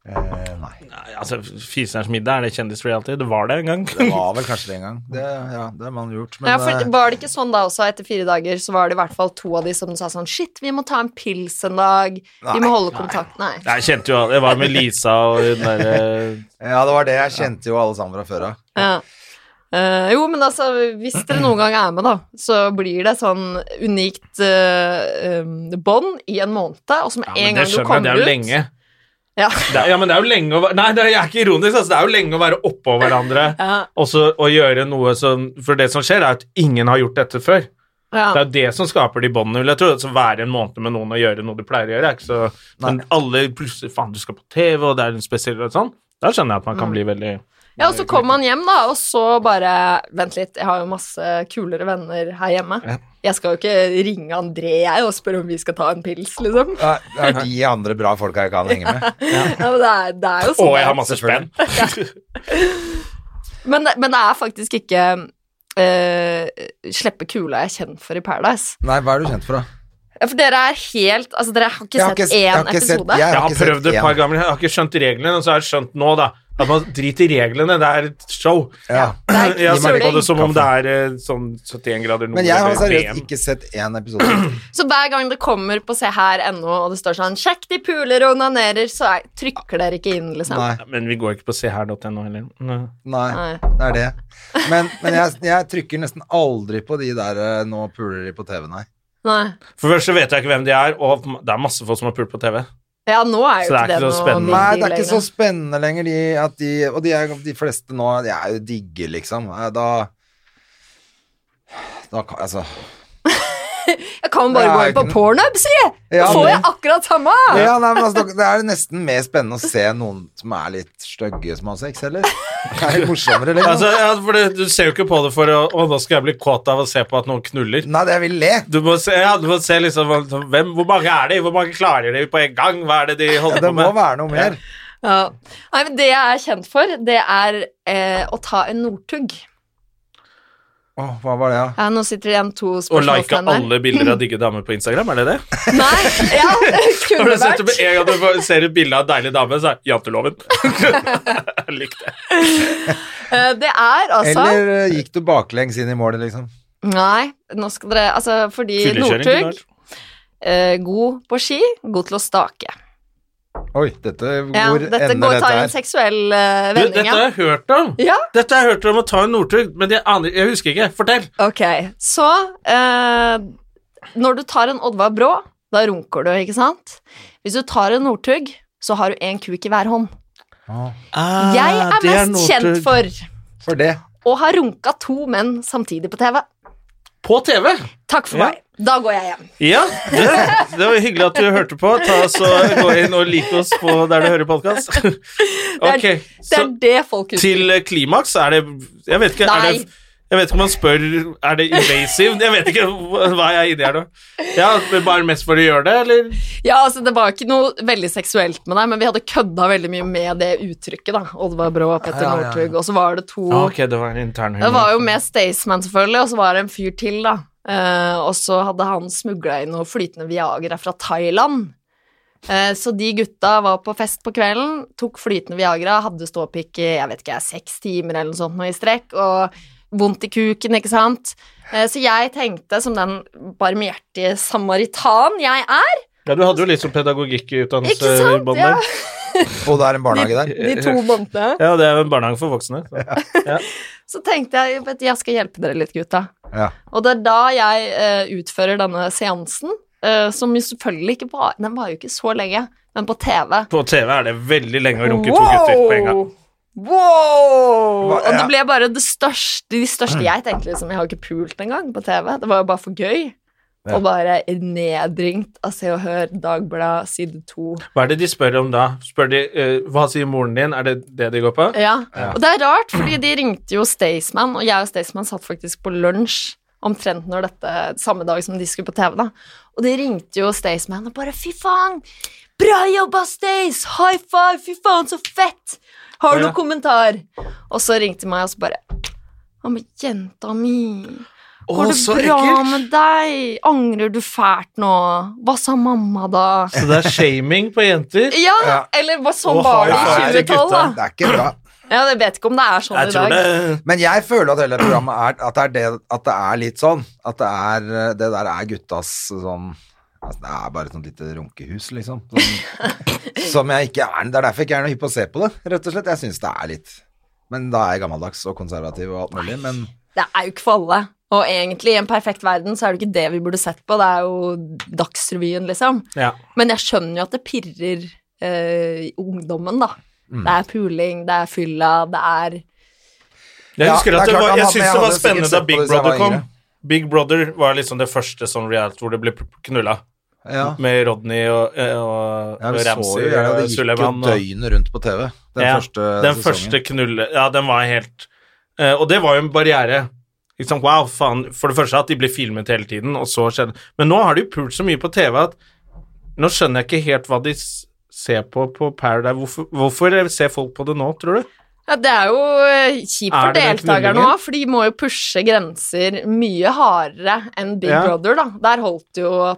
S2: Eh, Nei.
S1: Nei, Altså, Fiserens middag, er det kjendisreality? Det var det en gang.
S2: Det var vel kanskje det en gang. Det, ja, det har man gjort. Men
S3: Ja, for
S2: eh,
S3: var det ikke sånn da også, etter fire dager, så var det i hvert fall to av de som sa sånn Shit, vi må ta en pils en dag. Vi må holde kontakt. Nei.
S1: Nei, Jeg kjente jo alle. Det var med Lisa og hun eh, derre
S2: ja, det var det. Jeg kjente jo alle sammen fra før av.
S3: Ja. Eh, jo, men altså, hvis dere noen gang er med, da, så blir det sånn unikt eh, um, bånd i en måned, og så med en gang du
S1: det
S3: kommer
S1: er
S3: ut
S1: jo lenge.
S3: Ja.
S1: Det er, ja, men det er jo lenge å være Nei, det er, jeg er ikke ironisk, altså. Det er jo lenge å være oppå hverandre
S3: Ja.
S1: og så å gjøre noe som For det som skjer, er at ingen har gjort dette før. Det
S3: Ja.
S1: er jo det som skaper de båndene, vil jeg tro. Altså, være en måned med noen og gjøre noe du pleier å gjøre. er Ikke? Så, men alle plutselig Faen, du skal på TV, og det er en spesiell og sånn. Da skjønner jeg at man kan bli veldig
S3: Ja, og så kom han hjem, da, og så bare Vent litt, jeg har jo masse kulere venner her hjemme. Jeg skal jo ikke ringe André jeg og spørre om vi skal ta en pils, liksom.
S2: Nei, Det er de andre bra folka jeg kan henge med.
S3: Ja. men det, er, det er jo
S1: Å,
S3: sånn. det
S1: jeg
S3: er.
S1: har masse spenn!
S3: men, det- men det er faktisk ikke eh, slippe kula jeg er kjent for i Paradise.
S2: Nei, hva er du kjent for, da?
S3: Ja, For dere er helt Altså, dere har ikke
S2: Jeg har
S3: sett
S2: ikke- jeg har
S3: én
S2: ikke sett-
S3: episode.
S2: jeg-
S1: Jeg
S2: har
S1: har
S2: ikke
S1: prøvd
S2: sett
S1: et par
S2: én.
S1: ganger, jeg har ikke skjønt reglene, og så har jeg skjønt nå, da. At man driter i reglene, det er et show.
S2: Ja.
S3: Det er
S1: Jeg ser
S3: søling.
S1: på det som om det er eh, sånn 71 grader nord
S2: Men jeg har
S1: eller
S2: seriøst
S1: VM.
S2: ikke sett én episode.
S3: Så hver gang det kommer på Se her.no, og det står sånn 'Sjekk de puler og onanerer', så er, trykker dere ikke inn, liksom.
S2: Nei.
S1: Men vi går ikke på seher.no heller. Nei.
S2: Nei,
S3: Nei.
S2: det er det. Men, men jeg, jeg trykker nesten aldri på de der eh, nå puler de på TV, nei.
S3: Nei.
S1: For først så vet jeg ikke hvem de er, og det er masse folk som har pult på TV.
S3: Ja, nå er jo
S1: Så det er
S3: ikke det,
S1: ikke så
S3: noe
S1: spennende.
S2: Nei,
S3: veldig
S2: det er ikke
S3: lenger.
S2: så spennende lenger, de, at de Og de, er, de fleste nå, de er jo digge, liksom. Eh, Da Da kan Altså
S3: Jeg kan bare
S2: Det er
S3: gå inn
S2: ikke
S3: på
S2: noe-
S3: Pornhub, si! Da
S2: Ja,
S3: får
S2: men-
S3: jeg akkurat samme!
S2: Ja, nei, men altså, det er jo nesten mer spennende å se noen som er litt stygge som har sex, eller? Det er jo morsommere, liksom.
S1: Altså, ja, for det, Du ser jo ikke på det for å Å, nå skal jeg bli kåt av å se på at noen knuller.
S2: Nei, det jeg vil le.
S1: Du må se, ja, du må se liksom hvem, Hvor mange er de? Hvor mange klarer de på en gang? Hva er det de holder
S2: Det
S1: på
S2: må
S1: med?
S2: være noe mer.
S3: Ja. Nei, men Det jeg er kjent for, det er eh, å ta en Northug.
S2: Åh, hva var det, da?
S3: Ja, nå sitter det igjen to
S1: Å like
S3: spørsmålstegn der.
S1: alle bilder av digge damer på Instagram, er det det?
S3: Nei, ja,
S1: Har
S3: kunne
S1: du sett det
S3: vært.
S1: med en gang du får- ser et bilde av en deilig dame, så er det janteloven. Jeg likte det.
S3: Eh, Det altså- er altså
S2: Eller eh, gikk du baklengs inn i målet, liksom?
S3: Nei, nå skal dere Altså, fordi
S1: Fyllekjøring i dag.
S3: Northug eh, god på ski, god til å stake.
S2: Oi, dette, hvor
S3: Ja, dette
S2: ender
S3: går,
S2: dette
S3: tar en
S2: her?
S3: seksuell eh,
S1: Du,
S3: vending.
S1: dette har
S3: ja.
S1: jeg hørt om.
S3: Ja.
S1: Dette har jeg hørt om å ta en Northug, men jeg, aner, jeg husker ikke. Fortell.
S3: Ok, så eh, Når du tar en Oddvar Brå, da runker du, ikke sant? Hvis du tar en Northug, så har du én kuk i hver hånd.
S2: Ah,
S3: jeg Ah, er mest kjent for
S2: For det.
S3: å ha runka to menn samtidig på TV.
S1: På TV.
S3: Takk for
S1: Ja.
S3: meg. Da går jeg hjem.
S1: Ja, det, det var hyggelig at du hørte på. Ta oss og Gå inn og lik oss på der du hører podkast. Ok,
S3: Det
S1: så
S3: er det folk husker.
S1: til eh, klimaks er det Jeg vet ikke. Er
S3: Nei.
S1: det, jeg vet ikke om man spør Er det invasive. Jeg vet ikke hva hva jeg er inni her nå. Ja, men Bare mest for å gjøre det, eller?
S3: Ja, altså Det var ikke noe veldig seksuelt med deg, men vi hadde kødda veldig mye med det uttrykket. da Oddvar Brå og Petter
S2: Ja, ja, ja.
S3: Northug. Og så var det to
S1: Ah, ok, det var en intern
S3: Det var jo med Staysman, selvfølgelig, og så var det en fyr til, da. Eh, og så hadde han smugla inn noe flytende Viagra fra Thailand. Eh, så de gutta var på fest på kvelden, tok flytende Viagra, hadde ståpikk i jeg vet ikke, seks timer eller noe sånt nå i strekk, og vondt i kuken, ikke sant. Eh, så jeg tenkte, som den barmhjertige samaritan jeg er
S1: Ja, du hadde jo litt sånn pedagogikkutdannelse
S3: Ikke
S1: i
S3: sant?
S1: bånn
S3: Ja.
S1: der.
S2: Og det er en barnehage der.
S3: De
S1: Eh,
S3: to månedene.
S1: Ja, det er jo en barnehage for voksne. Så.
S3: Så tenkte jeg vet du, jeg skal hjelpe dere litt, gutta.
S2: Ja.
S3: Og det er da jeg eh, utfører denne seansen, eh, som jo selvfølgelig ikke var Den var jo ikke så lenge, men på TV.
S1: På TV er det veldig lenge å runke to gutter på en gang.
S3: Wow!
S2: Hva-
S3: Og det
S2: ja.
S3: ble bare det største, de
S1: Mm.
S3: største jeg tenkte liksom, Jeg har ikke pult engang på TV. Det var jo bare for gøy.
S2: Ja.
S3: Og bare nedringt av Se og Hør, Dagbladet, side to.
S1: Hva er det de spør om da? Spør de eh, hva sier moren din? Er det det de går på?
S3: Ja. Og det er rart, fordi de ringte jo Staysman, og jeg og Staysman satt faktisk på lunsj omtrent når dette, samme dag som de skulle på TV, da. Og de ringte jo Staysman og bare 'fy faen', bra jobba, Stays! High five! Fy faen, så fett! Har du
S1: Ja.
S3: noen kommentar? Og så ringte de meg og så bare 'Å, men jenta mi, går det
S2: så
S3: bra
S2: ekkelt!»
S3: med deg? Angrer du fælt nå? Hva sa mamma da?
S1: Så det er shaming på jenter?
S3: Ja,
S2: Ja.
S3: eller hva- sånn
S1: Å,
S3: var det
S1: ja,
S3: i
S1: herregud,
S3: 2012, da.
S2: Det er ikke bra.
S3: Ja, jeg vet ikke om det er sånn
S1: Jeg
S3: i dag.
S1: tror det
S2: Men jeg føler at hele programmet er At det er, det, at det er litt sånn. At det, er, eh, det der er guttas sånn altså Det er bare et sånt lite runkehus, liksom. Sånn, som jeg ikke er Det er derfor jeg ikke er noe hypp på å se på det, rett og slett. Jeg syns det er litt Men da er jeg gammeldags og konservativ og alt mulig, men
S3: Det er jo ikke for alle. Og egentlig, i en perfekt verden, så er det ikke det vi burde sett på. Det er jo Dagsrevyen, liksom.
S1: Ja.
S3: Men jeg skjønner jo at det pirrer eh, ungdommen, da.
S1: Mm.
S3: Det er puling, det er fylla, det er
S1: Jeg
S2: Ja,
S1: husker
S2: det er
S1: at det
S2: klart
S1: var,
S2: han
S1: jeg
S2: hadde-
S1: synes
S2: jeg
S1: det var
S2: hadde sikkert sett
S1: spennende da
S2: på
S1: Big
S2: det hvis jeg
S1: Brother
S2: var
S1: kom.
S2: yngre.
S1: Big Brother var liksom det første sånn reality hvor det ble knulla.
S2: ja.
S1: Med Rodney og, eh, og,
S2: Ja,
S1: og
S2: vi så jo
S1: Ramsay
S2: gjerne,
S1: og
S2: det gikk jo
S1: Sullivan. og-
S2: døgnet rundt på TV den
S1: Ja,
S2: første
S1: den
S2: sesongen.
S1: første knulle Ja, den var helt eh, Og det var jo en barriere. Ikke sant, wow, faen. For det første at de ble filmet hele tiden, og så skjedde Men nå har de jo pult så mye på TV at nå skjønner jeg ikke helt hva de s- ser på på Paradise. Hvorfor, hvorfor ser folk på det nå, tror du?
S3: ja, Det er jo eh, kjipt
S1: Er
S3: for
S1: det den
S3: deltakerne
S1: knullingen?
S3: òg, for de må jo pushe grenser mye hardere enn Big
S1: Ja.
S3: Brother, da. Der holdt det jo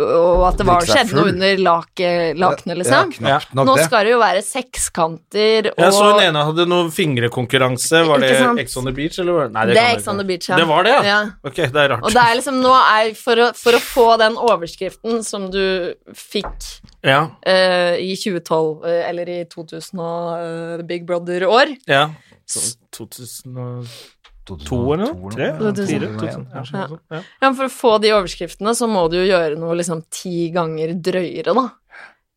S3: og at det var
S2: Drikke seg
S3: skjedde noe
S2: full.
S3: under lake- lakenet,
S2: Ja,
S3: liksom.
S2: knapt nok
S3: Nå
S2: det.
S3: skal det jo være sekskanter og
S1: Jeg så hun ene hadde noen fingrekonkurranse. Var det
S3: Ikke sant?
S1: Ex on the Beach, eller? var- Nei,
S3: Det er
S1: kan jeg
S3: Ex on
S1: ikke.
S3: the Beach, ja.
S1: Det var det, ja?
S3: Ja.
S1: Ok, det er rart.
S3: Og det er liksom nå er for å, for å få den overskriften som du fikk
S1: Ja,
S3: eh, i 2012, eh, eller i 2000 og eh, The Big Brother-år
S1: ja. Så 2002 eller noe? Tre? Fire?
S3: 2001.
S1: 2000, ja, sånn, sånn, ja.
S3: ja, For å få de overskriftene, så må du jo gjøre noe liksom ti ganger drøyere, da.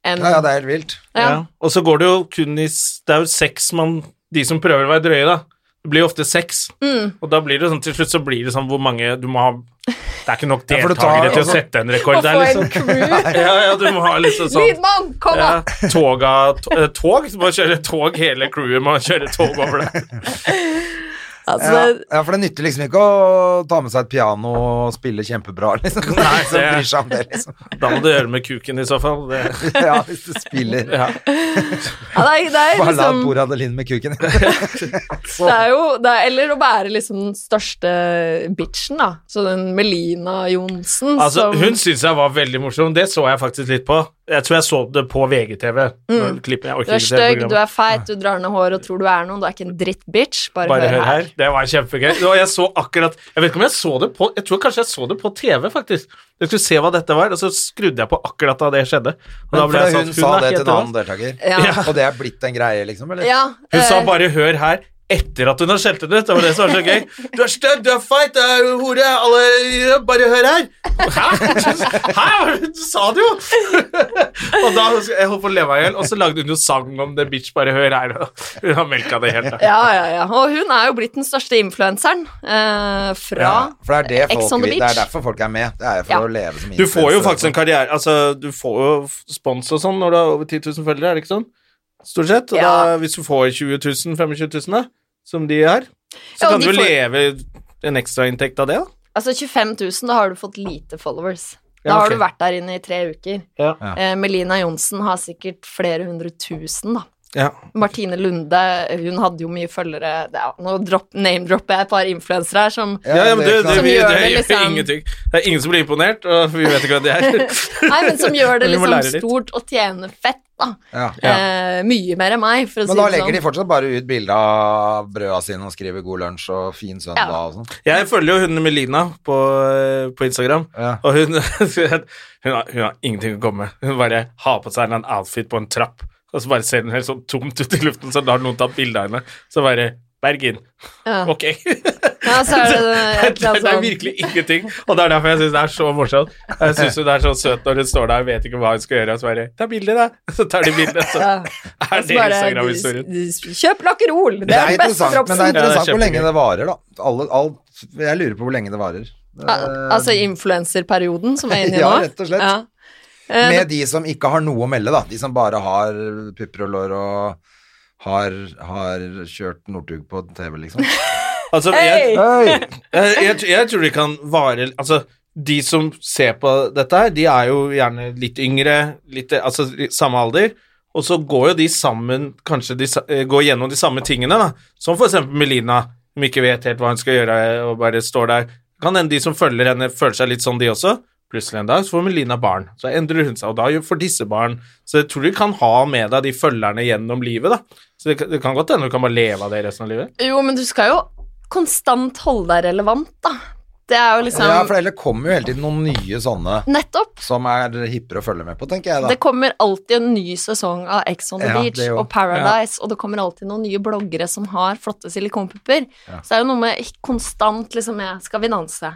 S3: enn-
S2: Ja, ja, det er helt vilt.
S3: Ja.
S1: Ja. Og så går det jo kun i s- Det er jo seks man De som prøver å være drøye, da. Det blir jo ofte seks.
S3: Mm.
S1: Og da blir det sånn til slutt så blir det sånn hvor mange du må ha Det er ikke nok
S2: Ja, for du
S1: deltakere
S2: tar-
S1: til å
S2: altså-
S1: sette en
S3: Å
S1: rekord der,
S3: få en
S1: liksom.
S3: crew.
S1: Ja, ja, du må ha liksom sånn
S3: Lydmann, kom da!
S1: ja, Toga to- eh, Tog? Du må kjøre tog, hele crewet må kjøre tog over det.
S3: Altså,
S2: Ja,
S3: det-
S2: ja, for det nytter liksom ikke å ta med seg et piano og spille kjempebra, liksom. Det er ingen som bryr seg
S1: det-
S2: om det, liksom.
S1: Da må du gjøre det med kuken, i så fall. Det,
S2: Ja, hvis du spiller
S1: ja.
S3: ja, det er, det er
S2: Bare la
S3: liksom
S2: Bor Adeline med kuken.
S3: Det er jo, det er, eller å være liksom den største bitchen, da. Så den Melina Johnsen
S1: Altså,
S3: som
S1: hun syns jeg var veldig morsom. Det så jeg faktisk litt på. Jeg tror jeg så det på VGTV. når klippet- jeg orker ikke
S3: Mm. Du er
S1: det
S3: stygg,
S1: programmet.
S3: du er feit, du drar ned håret og tror du er noen. Du er ikke en drittbitch. Bare,
S1: Bare hør her. Det var kjempegøy. Og jeg så akkurat Jeg vet ikke om jeg så det på Jeg tror kanskje jeg så det på TV, faktisk. Jeg skulle se hva dette var, og så skrudde jeg på akkurat da det skjedde. Og da
S2: Men
S1: ble
S2: for
S1: jeg sånn
S2: hun sa
S1: er
S2: det til
S1: ikke
S2: en
S1: etter
S2: annen
S1: oss.
S2: deltaker.
S3: Ja.
S2: Og det er blitt en greie, liksom? Eller?
S3: Ja,
S1: Hun sa
S3: eh,
S1: bare 'hør her' etter at hun har skjelt henne ut. Det var det som var så gøy. 'Du er stygg, du er feit, du er hore, alle Bare hør her'. Hæ? Hæ? Du sa det jo! og da jeg holdt på å le meg i hjel, og så lagde hun jo sang om det, bitch, bare hør her. og Hun har melka det helt. da.
S3: ja, ja, ja. Og hun er jo blitt den største influenseren eh, fra
S2: Ja, for det er, det,
S3: Ex on
S2: folk,
S3: the
S2: vil- det er
S3: beach.
S2: derfor folk er med. Det er jo for
S3: Ja.
S2: å leve som sånn.
S1: Du får jo
S2: influencer.
S1: faktisk en karriere Altså, du får jo f- spons og sånn når du har over 10 000 følgere, er det ikke sånn? Stort sett. Og da,
S3: Ja.
S1: hvis du får 20 000, 25 000, da, som de er, så
S3: Ja, og
S1: kan
S3: de
S1: du jo
S3: får-
S1: leve en ekstrainntekt av det, da.
S3: Altså 25 000, da har du fått lite followers. Da
S1: Ja, ok.
S3: har du vært der inne i tre uker.
S1: Ja.
S3: Eh, Melina Johnsen har sikkert flere hundre tusen, da.
S1: Ja.
S3: Martine Lunde, hun hadde jo mye følgere det er- Nå drop- name-dropper jeg et par influensere her som
S1: Ja, men det, det,
S3: Som
S1: vi, det
S3: gjør
S1: gjør
S3: det liksom-
S1: ingenting. Det er ingen som blir imponert, og vi vet ikke hva det er.
S3: Nei, men som gjør det
S1: Men du må lære
S3: liksom
S1: litt.
S3: stort og tjener fett, da.
S2: Ja.
S3: Eh, mye mer enn meg, for å
S2: Men
S3: si
S2: da
S3: det
S2: legger de
S3: sånn.
S2: fortsatt bare ut bilde av brøda sine og skriver 'god lunsj' og 'fin søndag'
S3: Ja.
S2: og sånn.
S1: Jeg følger jo hun Melina på, eh, på Instagram,
S2: Ja.
S1: og hun, hun, har, hun har ingenting å komme med. Hun bare har på seg en eller annen outfit på en trapp, og så bare ser hun helt sånn tomt ut i luften, så da har noen tatt bilde av henne. Så bare Bergen.
S3: Ja.
S1: Ok.
S3: Ja, så er
S1: Det,
S3: det, et eller annet
S1: er
S3: sånn-
S1: virkelig ingenting, og det er derfor jeg syns det er så morsomt. Jeg syns hun er så søt når hun står der og vet ikke hva hun skal gjøre, og så bare Ta bilde, da. Så tar de bilde, så er
S3: Ja. Og så
S1: det
S3: bare,
S1: Instagram-historien.
S3: Kjøp lakkerol! Det er den beste
S2: interessant, men det er
S1: Ja,
S3: dropsen.
S1: det er
S2: interessant hvor lenge
S1: kjempegøy.
S2: det varer, da. Alle, alt, jeg lurer på hvor lenge det varer.
S3: Al- Altså influenserperioden som er inne i nå?
S2: eh, Ja, rett og slett.
S3: Ja. Eh,
S2: Med de som ikke har noe å melde, da. De som bare har pupper og lår og har, har kjørt Northug på TV, liksom.
S1: Altså, jeg,
S2: Hei!
S1: jeg, jeg, tr- jeg tror det kan vare Altså, de som ser på dette her, de er jo gjerne litt yngre, litt, altså i samme alder, og så går jo de sammen Kanskje de sa- eh, går gjennom de samme tingene, da. Som for eksempel Melina, som ikke vet helt hva hun skal gjøre, og bare står der. Kan hende de som følger henne, føler seg litt sånn, de også. Plutselig en dag så får Melina barn, så endrer hun seg, og da gjør- får disse barn. Så jeg tror du kan ha med deg de følgerne gjennom livet, da. Så det, kan- det kan godt hende du kan bare leve av det resten av livet.
S3: Jo, men du skal jo konstant holde deg relevant, da. Det er jo liksom
S2: Ja, for ellers kommer jo hele tiden noen nye sånne
S3: Nettopp.
S2: som er hippere å følge med på, tenker jeg da.
S3: Det kommer alltid en ny sesong av Ex on the
S2: Ja,
S3: Beach
S2: det jo.
S3: og Paradise, og det kommer alltid noen nye bloggere som har flotte silikonpupper. Så det er jo noe med ikke konstant liksom jeg Skal vi danse?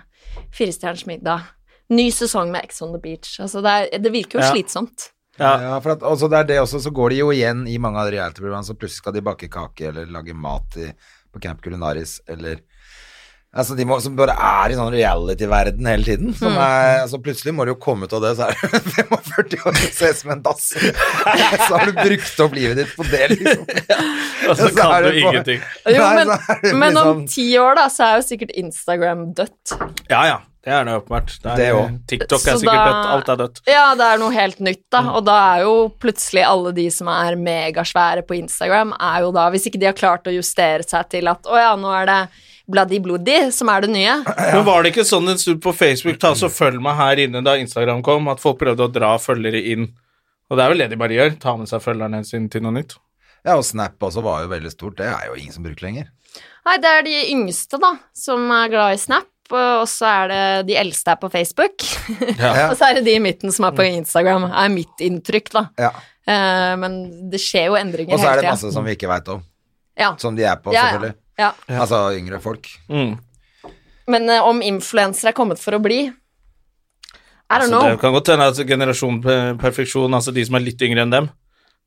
S3: Firestjerners middag. Ny sesong med Ex on the Beach. Altså, det, er, det virker jo
S1: Ja.
S3: slitsomt.
S1: Ja.
S2: Ja, for at, også det er det også, så går de jo igjen i mange av de reality-programmene, så plutselig skal de bake kake eller lage mat i, på Camp Culinaris, eller Altså, de må, som bare er i sånn reality-verden hele tiden. Som
S3: Mm.
S2: er, altså, plutselig må du jo komme ut av det, så er du 45 år og ser ut som en dass. Så har du brukt opp livet ditt på det, liksom.
S1: Og så
S2: Så er
S1: kan du
S2: det bare-
S1: ingenting.
S3: Jo,
S2: Nei,
S3: men,
S2: så er det
S3: men om
S2: liksom-
S3: ti år, da, så er jo sikkert Instagram dødt.
S1: Ja, ja. Det er det åpenbart. Det er,
S2: Det også.
S1: TikTok er
S3: Så
S1: sikkert
S3: da-
S1: dødt. Alt er dødt. Mm.
S3: Ja, det er noe helt nytt, da. Og da er jo plutselig alle de som er megasvære på Instagram, er jo da Hvis ikke de har klart å justere seg til at å ja, nå er det Bloody Bloody som er det nye.
S1: Men var det ikke sånn en stund på Facebook, ta så følg meg her inne da Instagram kom, at folk prøvde å dra følgere inn? Og det er vel det de bare gjør. Ta med seg følgerne sine til noe nytt.
S2: Ja, og Snap også var jo veldig stort. Det er jo ingen som bruker lenger.
S3: Nei, det er de yngste, da, som er glad i Snap. Og så er det de eldste er på Facebook.
S2: Ja.
S3: og så er det de i midten som er på Instagram. er mitt inntrykk, da.
S2: Ja.
S3: Eh, men det skjer jo endringer
S2: Og så er
S3: hele
S2: det
S3: tida.
S2: masse sånn- som vi ikke veit om,
S3: Ja.
S2: som de er på,
S3: Ja, ja.
S2: selvfølgelig.
S3: ja.
S2: Altså yngre folk.
S1: Mm.
S3: Men eh, om influensere er kommet for å bli I don't
S1: Så
S3: know.
S1: Altså, det kan godt hende at generasjon per- perfeksjon, altså de som er litt yngre enn dem,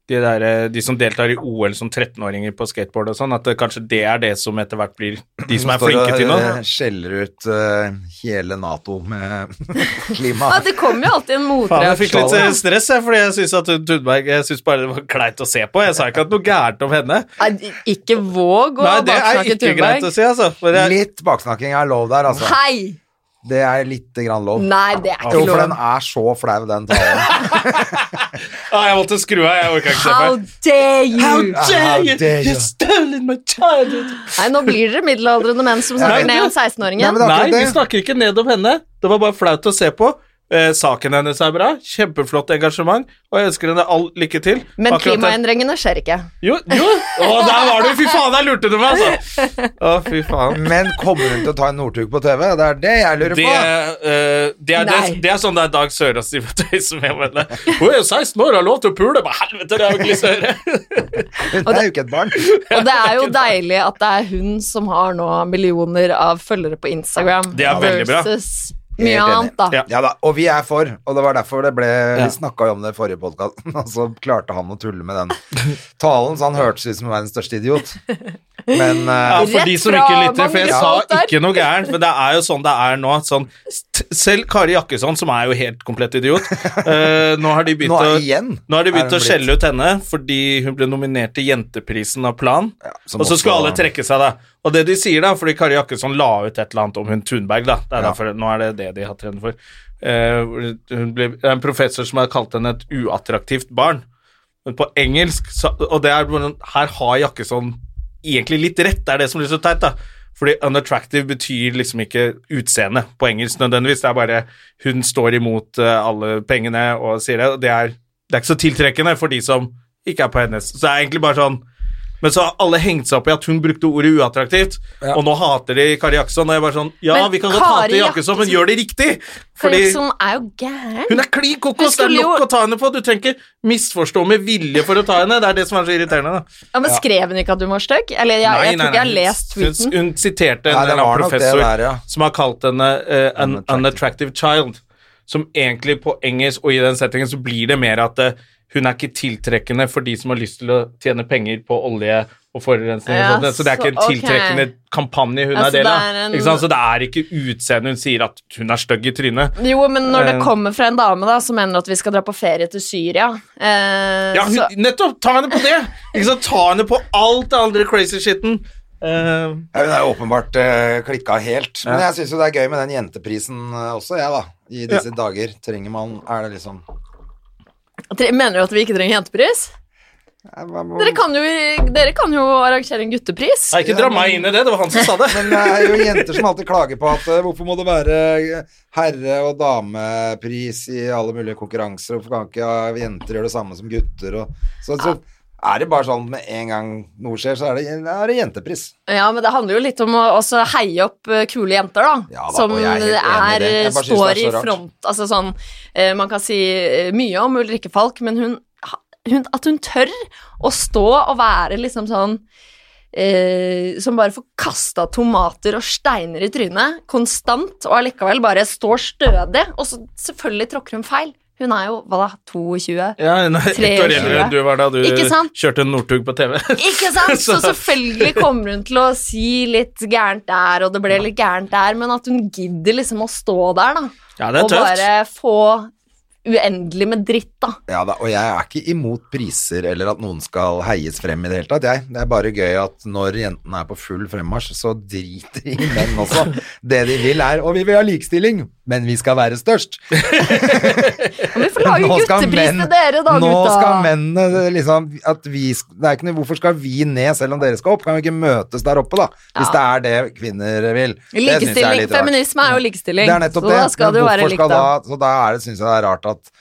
S1: de, der, eh, de som deltar i OL som 13-åringer på skateboard og sånn, at det, kanskje det er det som etter hvert blir de som er
S2: står
S1: flinke
S2: og,
S1: til noe.
S2: eh, Skjeller ut eh, hele Nato med klima.
S3: Ja, det kommer jo alltid en
S1: Faen, jeg fikk litt eh,
S3: motreaksjon.
S1: stress, jeg, fordi jeg syns at Thunberg Jeg synes bare det var kleint å se på. Jeg sa ikke at noe gærent om henne.
S3: Nei, Ikke våg å
S1: Nei, det er
S3: baksnakke
S1: ikke greit
S3: Thunberg.
S1: å si, altså. For jeg,
S2: Litt baksnakking er lov der, altså.
S3: Hei!
S2: Det er lite grann lov.
S3: Nei, det er
S2: Jo,
S3: ikke
S2: for den
S3: lov.
S2: er så flau, den talen.
S1: ah, jeg måtte skru av, jeg orka ikke se
S3: How
S1: på.
S3: dare you!
S2: How dare you.
S1: stolen my childhood!
S3: Nei, nå blir dere middelaldrende menn som snakker
S1: Nei,
S3: ned om
S1: men-
S2: Nei, men
S3: 16-åringen.
S2: det er
S1: Nei,
S2: akkurat
S1: vi
S2: det.
S1: snakker ikke ned om henne. Det var bare flaut å se på. Eh, saken hennes er bra. Kjempeflott engasjement. Og jeg ønsker henne all lykke til.
S3: Men
S1: Akkurat det-
S3: klimaendringene skjer ikke.
S1: Jo, jo. Å, der var du! Fy faen, der lurte du meg, altså! Å, fy faen.
S2: Men kommer hun til å ta en Northug på TV? Det er det jeg lurer
S1: Det,
S2: på.
S1: eh, det, er, det, er,
S3: Nei.
S1: det er sånn det er Dag Sørås driver og tøyser med. men det- Hun er jo 16 år og har lov til å pule! Bare helvete, det er jo ikke lyst til å høre!
S2: Hun er jo ikke et barn.
S3: Og det er jo deilig at det er hun som har nå millioner av følgere på Instagram.
S1: Det er veldig bra.
S3: Versus
S2: Helt
S3: mye
S2: enig.
S3: annet, da.
S1: Ja.
S2: Ja da, og vi er for, og det var derfor det ble Vi snakka jo om det i forrige podkast, og så klarte han å tulle med den talen, så han hørtes ut som verdens største idiot. Men eh,
S1: Ja, for
S3: Rett
S1: de som
S3: fra
S1: ikke lytter, for jeg
S3: Magnus
S1: sa
S3: Walter.
S1: ikke noe gærent, men det er jo sånn det er nå. at Sånn, st- selv Kari Jakkesson, som er jo helt komplett idiot, eh, nå har de begynt,
S2: Nå er-
S1: å,
S2: igjen
S1: nå har de
S2: er
S1: begynt
S2: hun
S1: å skjelle ut henne fordi hun ble nominert til Jenteprisen av Plan,
S2: som
S1: og så skal
S2: også-
S1: alle trekke seg, da. Og det de sier, da, fordi Kari Jakkesson la ut et eller annet om hun Thunberg, da. Det er
S2: Ja.
S1: derfor, nå er det det de har trent for. Eh, hun ble, det er en professor som har kalt henne et uattraktivt barn. Men på engelsk så, Og det er hvordan- her har Jakkesson egentlig litt rett, det er det som blir så teit, da. Fordi unattractive betyr liksom ikke utseende på engelsk nødvendigvis. Det er bare hun står imot eh, alle pengene og sier det. og Det er, det er ikke så tiltrekkende for de som ikke er på hennes. Så det er egentlig bare sånn Men så har alle hengt seg opp i at hun brukte ordet uattraktivt, og nå hater de Kari Jakkesson. Og jeg bare sånn Ja,
S3: Men
S1: vi kan godt
S3: Kari
S1: hate Jakkesson, men
S3: Jakkesson-
S1: gjør det riktig!
S3: Fordi...
S1: Fordi
S3: er jo gæren.
S1: hun er klin kokos! Det
S3: Hun
S1: er
S3: skulle
S1: nok
S3: jo-
S1: å ta henne på. Du trenger ikke misforstå med vilje for å ta henne. Det er det som er så irriterende. Da.
S3: Ja, men Skrev hun ikke at hun var stygg? Eller jeg, jeg tror ikke jeg har lest
S1: Hun,
S3: tweeten.
S1: hun siterte en
S2: Nei, det var
S1: eller annen
S2: nok det
S1: professor
S2: der, ja.
S1: som har kalt henne eh, an unattractive child. Som egentlig på engelsk og i den settingen så blir det mer at eh, hun er ikke tiltrekkende for de som har lyst til å tjene penger på olje og forurensning.
S3: Ja,
S1: og sånt. Så det er ikke en
S3: så- ok.
S1: tiltrekkende kampanje hun
S3: Altså,
S1: er del
S3: det
S1: av.
S3: er en-
S1: Ikke sant? Så det er ikke utseendet hun sier at hun er stygg i trynet.
S3: Jo, men når det
S1: Eh.
S3: kommer fra en dame da, som mener at vi skal dra på ferie til Syria eh,
S1: Ja, hun,
S3: så,
S1: nettopp! Ta henne på det! Ikke sant? Ta henne på alt det andre crazy shitten. Eh,
S2: ja, Hun er jo åpenbart uh, klikka helt. Men jeg syns jo det er gøy med den jenteprisen eh, også, jeg, da. I disse dager. Trenger man Er det liksom
S3: tre- Mener du at vi ikke trenger jentepris?
S2: Nei, hva må-
S3: Dere kan jo, dere kan jo arrangere en guttepris.
S1: Nei, ikke dra meg inn i det. Det var han som sa det.
S2: Men det er jo jenter som alltid klager på at eh, hvorfor må det være eh, herre- og damepris i alle mulige konkurranser, hvorfor kan ikke eh, jenter gjøre det samme som gutter? Og, så, så er det bare sånn med en gang noe skjer, så er det, er det jentepris.
S3: Ja, men det handler jo litt om å også heie opp eh, kule jenter, da.
S2: Ja da,
S3: som eh,
S2: og jeg er helt enig i
S3: er,
S2: det. Jeg bare synes
S3: står
S2: det er så
S3: i
S2: rart.
S3: front. Altså sånn eh, Man kan si eh, mye om Ulrikke Falk, men hun, ha- hun At hun tør å stå og være liksom sånn eh, Som bare får kasta tomater og steiner i trynet konstant, og allikevel bare står stødig. Og så selvfølgelig tråkker hun feil. Hun er jo, hva da, 22?
S1: Ja, hun er ett år
S3: 23.
S1: eldre enn du var da du
S3: Ikke sant?
S1: kjørte en Northug på TV.
S3: Ikke sant? Så selvfølgelig kommer hun til å si litt gærent der, og det ble litt gærent der, men at hun gidder liksom å stå der, da.
S1: Ja, det er
S3: og
S1: tøft.
S3: bare få uendelig med dritt, da.
S2: Ja da, og jeg er ikke imot priser eller at noen skal heies frem i det hele tatt, jeg. Det er bare gøy at når jentene er på full fremmarsj, så driter de i menn også. Det de vil er Og vi vil ha likestilling, men vi skal være størst.
S3: Men vi får lage
S2: Nå skal
S3: guttepris
S2: menn-
S3: til dere, da,
S2: Nå
S3: gutta.
S2: skal mennene eh, liksom at vi, sk- det er ikke noe, Hvorfor skal vi ned selv om dere skal opp? Kan vi ikke møtes der oppe, da? Hvis det er det kvinner vil. Det synes jeg er
S3: Likestilling.
S2: litt rart.
S3: Feminisme er jo likestilling.
S2: Det er nettopp
S3: så
S2: det.
S3: da skal
S2: men
S3: det jo
S2: hvorfor
S3: være
S2: skal
S3: likt, da.
S2: Da, så da er det, synes jeg det er rart at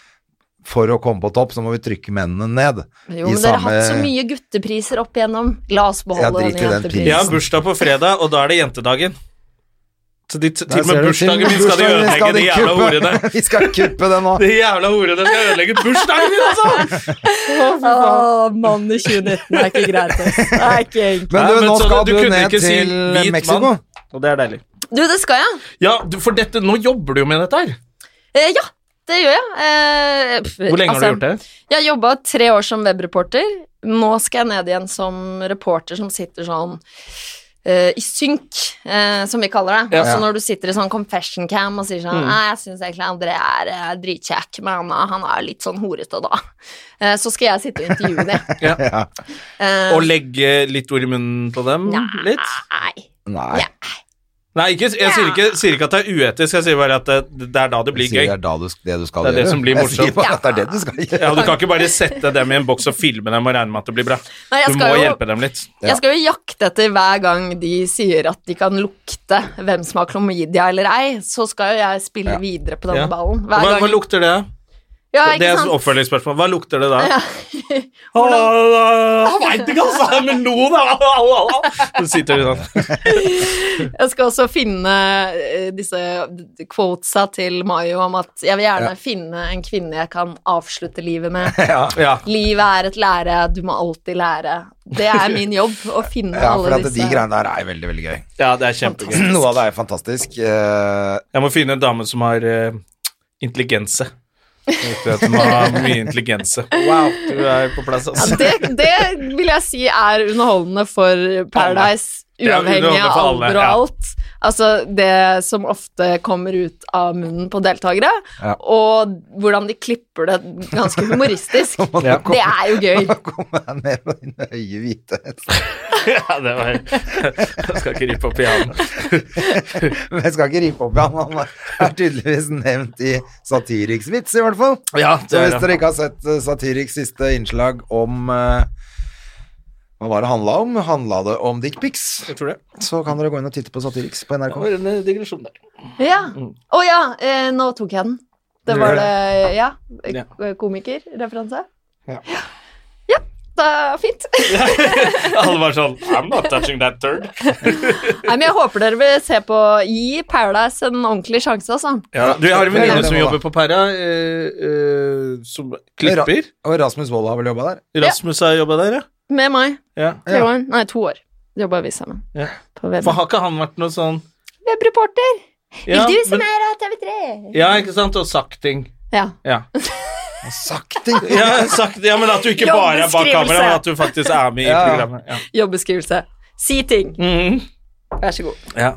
S2: for å komme på topp, så må vi trykke mennene ned.
S3: Jo, men dere har hatt så mye guttepriser opp igjennom. La oss
S2: Jeg
S3: beholde
S2: driter i
S3: denne
S2: den
S3: jenteprisen.
S1: Jeg har bursdag på fredag, og da er det jentedagen. Så de, t-
S2: Der
S1: til og
S2: ser
S1: med
S2: du,
S1: bursdagen
S2: til og med
S1: min skal de
S2: bursdagen min
S1: ødelegge,
S2: skal
S1: de jævla
S2: kuppe.
S1: horene.
S2: vi skal kuppe det nå.
S1: De jævla horene skal ødelegge bursdagen min, altså!
S3: Å, mann i 2019 er ikke greit, ass. Det er ikke enkelt.
S2: Men
S1: Nei,
S2: du,
S1: men
S2: nå
S1: så
S2: skal
S1: du
S2: du,
S1: kunne
S2: ned
S1: ikke si
S2: til
S1: hvit
S2: Mexico.
S1: mann. Og det er deilig.
S3: Du, det skal jeg.
S1: Ja, du, for dette, nå jobber du jo med dette her.
S3: Eh, ja, det gjør jeg. Eh, pff,
S1: Hvor lenge
S3: altså,
S1: har du gjort det?
S3: Jeg jobba tre år som webreporter. Nå skal jeg ned igjen som reporter som sitter sånn eh, i synk, eh, som vi kaller det.
S1: Ja. Mm.
S3: Altså når du sitter i sånn confession cam og sier sånn Nei, jeg syns egentlig André er eh, dritkjekk, men han er, han er litt sånn horete da. Eh, så skal jeg sitte og intervjue dem.
S1: Ja.
S3: Eh,
S1: Og legge litt ord i munnen på dem? Litt?
S3: Nei.
S2: Nei.
S3: Ja.
S1: Nei, ikke, jeg sier ikke, sier ikke at det er uetisk, jeg sier bare at eh, det, det er da det blir
S2: Sier
S1: gøy.
S2: Det er da du, det du skal
S1: Det er det
S2: gjøre.
S1: som blir
S2: Jeg sier
S1: morsomt.
S2: bare at det er det du skal gjøre.
S1: Ja, Du kan ikke bare sette dem i en boks og filme dem og regne med at det blir bra.
S3: Nei,
S1: Du
S3: jeg
S1: må
S3: skal jo-
S1: hjelpe dem litt.
S3: Jeg skal jo jakte etter hver gang de sier at de kan lukte hvem som har klamydia eller ei, så skal jo jeg spille videre på denne
S1: Ja.
S3: ballen.
S1: Hva,
S3: Hver gang.
S1: hva lukter det?
S3: ja,
S1: det
S3: ikke
S1: er et
S3: sant?
S1: oppfølgingsspørsmål. Hva lukter det da? Åh, Jeg veit ikke, altså! Men noe, da! Så sitter de sånn.
S3: Jeg skal også finne eh, disse quotesa til Mayo om at jeg vil gjerne finne en kvinne jeg kan avslutte livet med.
S1: Ja.
S3: Livet er et lære, du må alltid lære. Det er min jobb, å finne
S2: Ja, for
S3: alle
S2: at
S3: disse
S2: de greiene der er veldig, veldig gøy.
S1: ja, det er kjempegøy.
S2: Noe av det er fantastisk. eh,
S1: Jeg må finne en dame som har eh, intelligense. Som har mye intelligense. Wow, du er på plass, altså.
S3: det, det vil jeg si er underholdende for Paradise,
S1: er
S3: uavhengig
S1: underholdende
S3: av
S1: for alle,
S3: alder og
S1: ja.
S3: alt. Altså det som ofte kommer ut av munnen på deltakere,
S2: Ja.
S3: og hvordan de klipper det ganske humoristisk.
S2: må du
S3: Det
S2: komme-
S3: er jo gøy.
S2: Komme deg ned på dine høye hvite
S1: Ja, det var Jeg skal ikke rippe opp i handen.
S2: Men jeg skal ikke ripe opp i han, han er tydeligvis nevnt i Satiriks vits, i hvert fall.
S1: Ja, det
S2: Så
S1: er
S2: hvis
S1: det.
S2: dere ikke har sett eh, Satiriks siste innslag om eh, Hva var det handla om? Handla det om dickpics?
S1: Jeg tror det.
S2: Så kan dere gå inn og titte på Satiriks på NRK.
S1: var en digresjon der.
S3: Ja.
S1: Mm.
S3: Å ja, eh, nå tok jeg den. Det var det Ja.
S1: Ja.
S3: Komikerreferanse.
S2: Ja.
S3: Ja, det er fint.
S1: Alle var sånn I'm not touching that turd.
S3: Nei, men jeg håper dere vil se på Gi Paradise en ordentlig sjanse, altså.
S1: Ja, du, jeg har en venninne
S2: Ja.
S1: som jobber på Perra, eh, eh, som klipper.
S2: Og Rasmus Wold har vel jobba der?
S1: Rasmus har jobba der, ja.
S3: Med meg.
S1: ja.
S3: Tre år. Nei, to år. Jobba vi sammen.
S1: Ja.
S3: På web.
S1: For har ikke han vært noe sånn
S3: Webreporter!
S1: ja,
S3: Vil du se
S1: men-
S3: mer av TV3?
S1: Ja, ikke sant? Og sagt ting.
S3: Ja.
S1: Ja.
S2: Sagt ting!
S1: Ja, sagt, ja, men at du ikke bare er bak
S3: Jobbeskrivelse.
S1: kamera, men at du faktisk er med i
S2: Ja.
S1: programmet. Ja.
S3: Jobbeskrivelse. Si ting.
S1: Mhm.
S3: Vær så god.
S1: ja.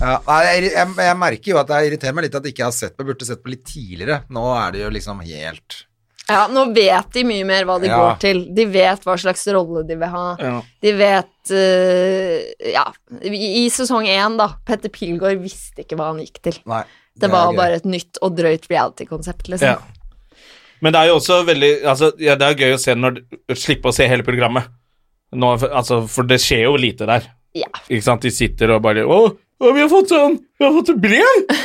S2: Ja, nei, jeg, jeg, jeg merker jo at jeg irriterer meg litt at jeg ikke har sett på, burde sett på litt tidligere. Nå er det jo liksom helt
S3: Ja, nå vet de mye mer hva de
S2: Ja.
S3: går til. De vet hva slags rolle de vil ha.
S1: Ja.
S3: De vet eh, Ja, i, i sesong én, da. Petter Pilgaard visste ikke hva han gikk til.
S2: Nei.
S3: Det
S2: er
S3: var
S2: gøy.
S3: bare et nytt og drøyt reality-konsept, liksom.
S1: Ja. Men det er jo også veldig altså, ja, Det er gøy å se når Slippe å se hele programmet. Nå, altså, for det skjer jo lite der.
S3: Ja.
S1: Ikke sant? De sitter og bare Å, å vi har fått sånn Vi har fått et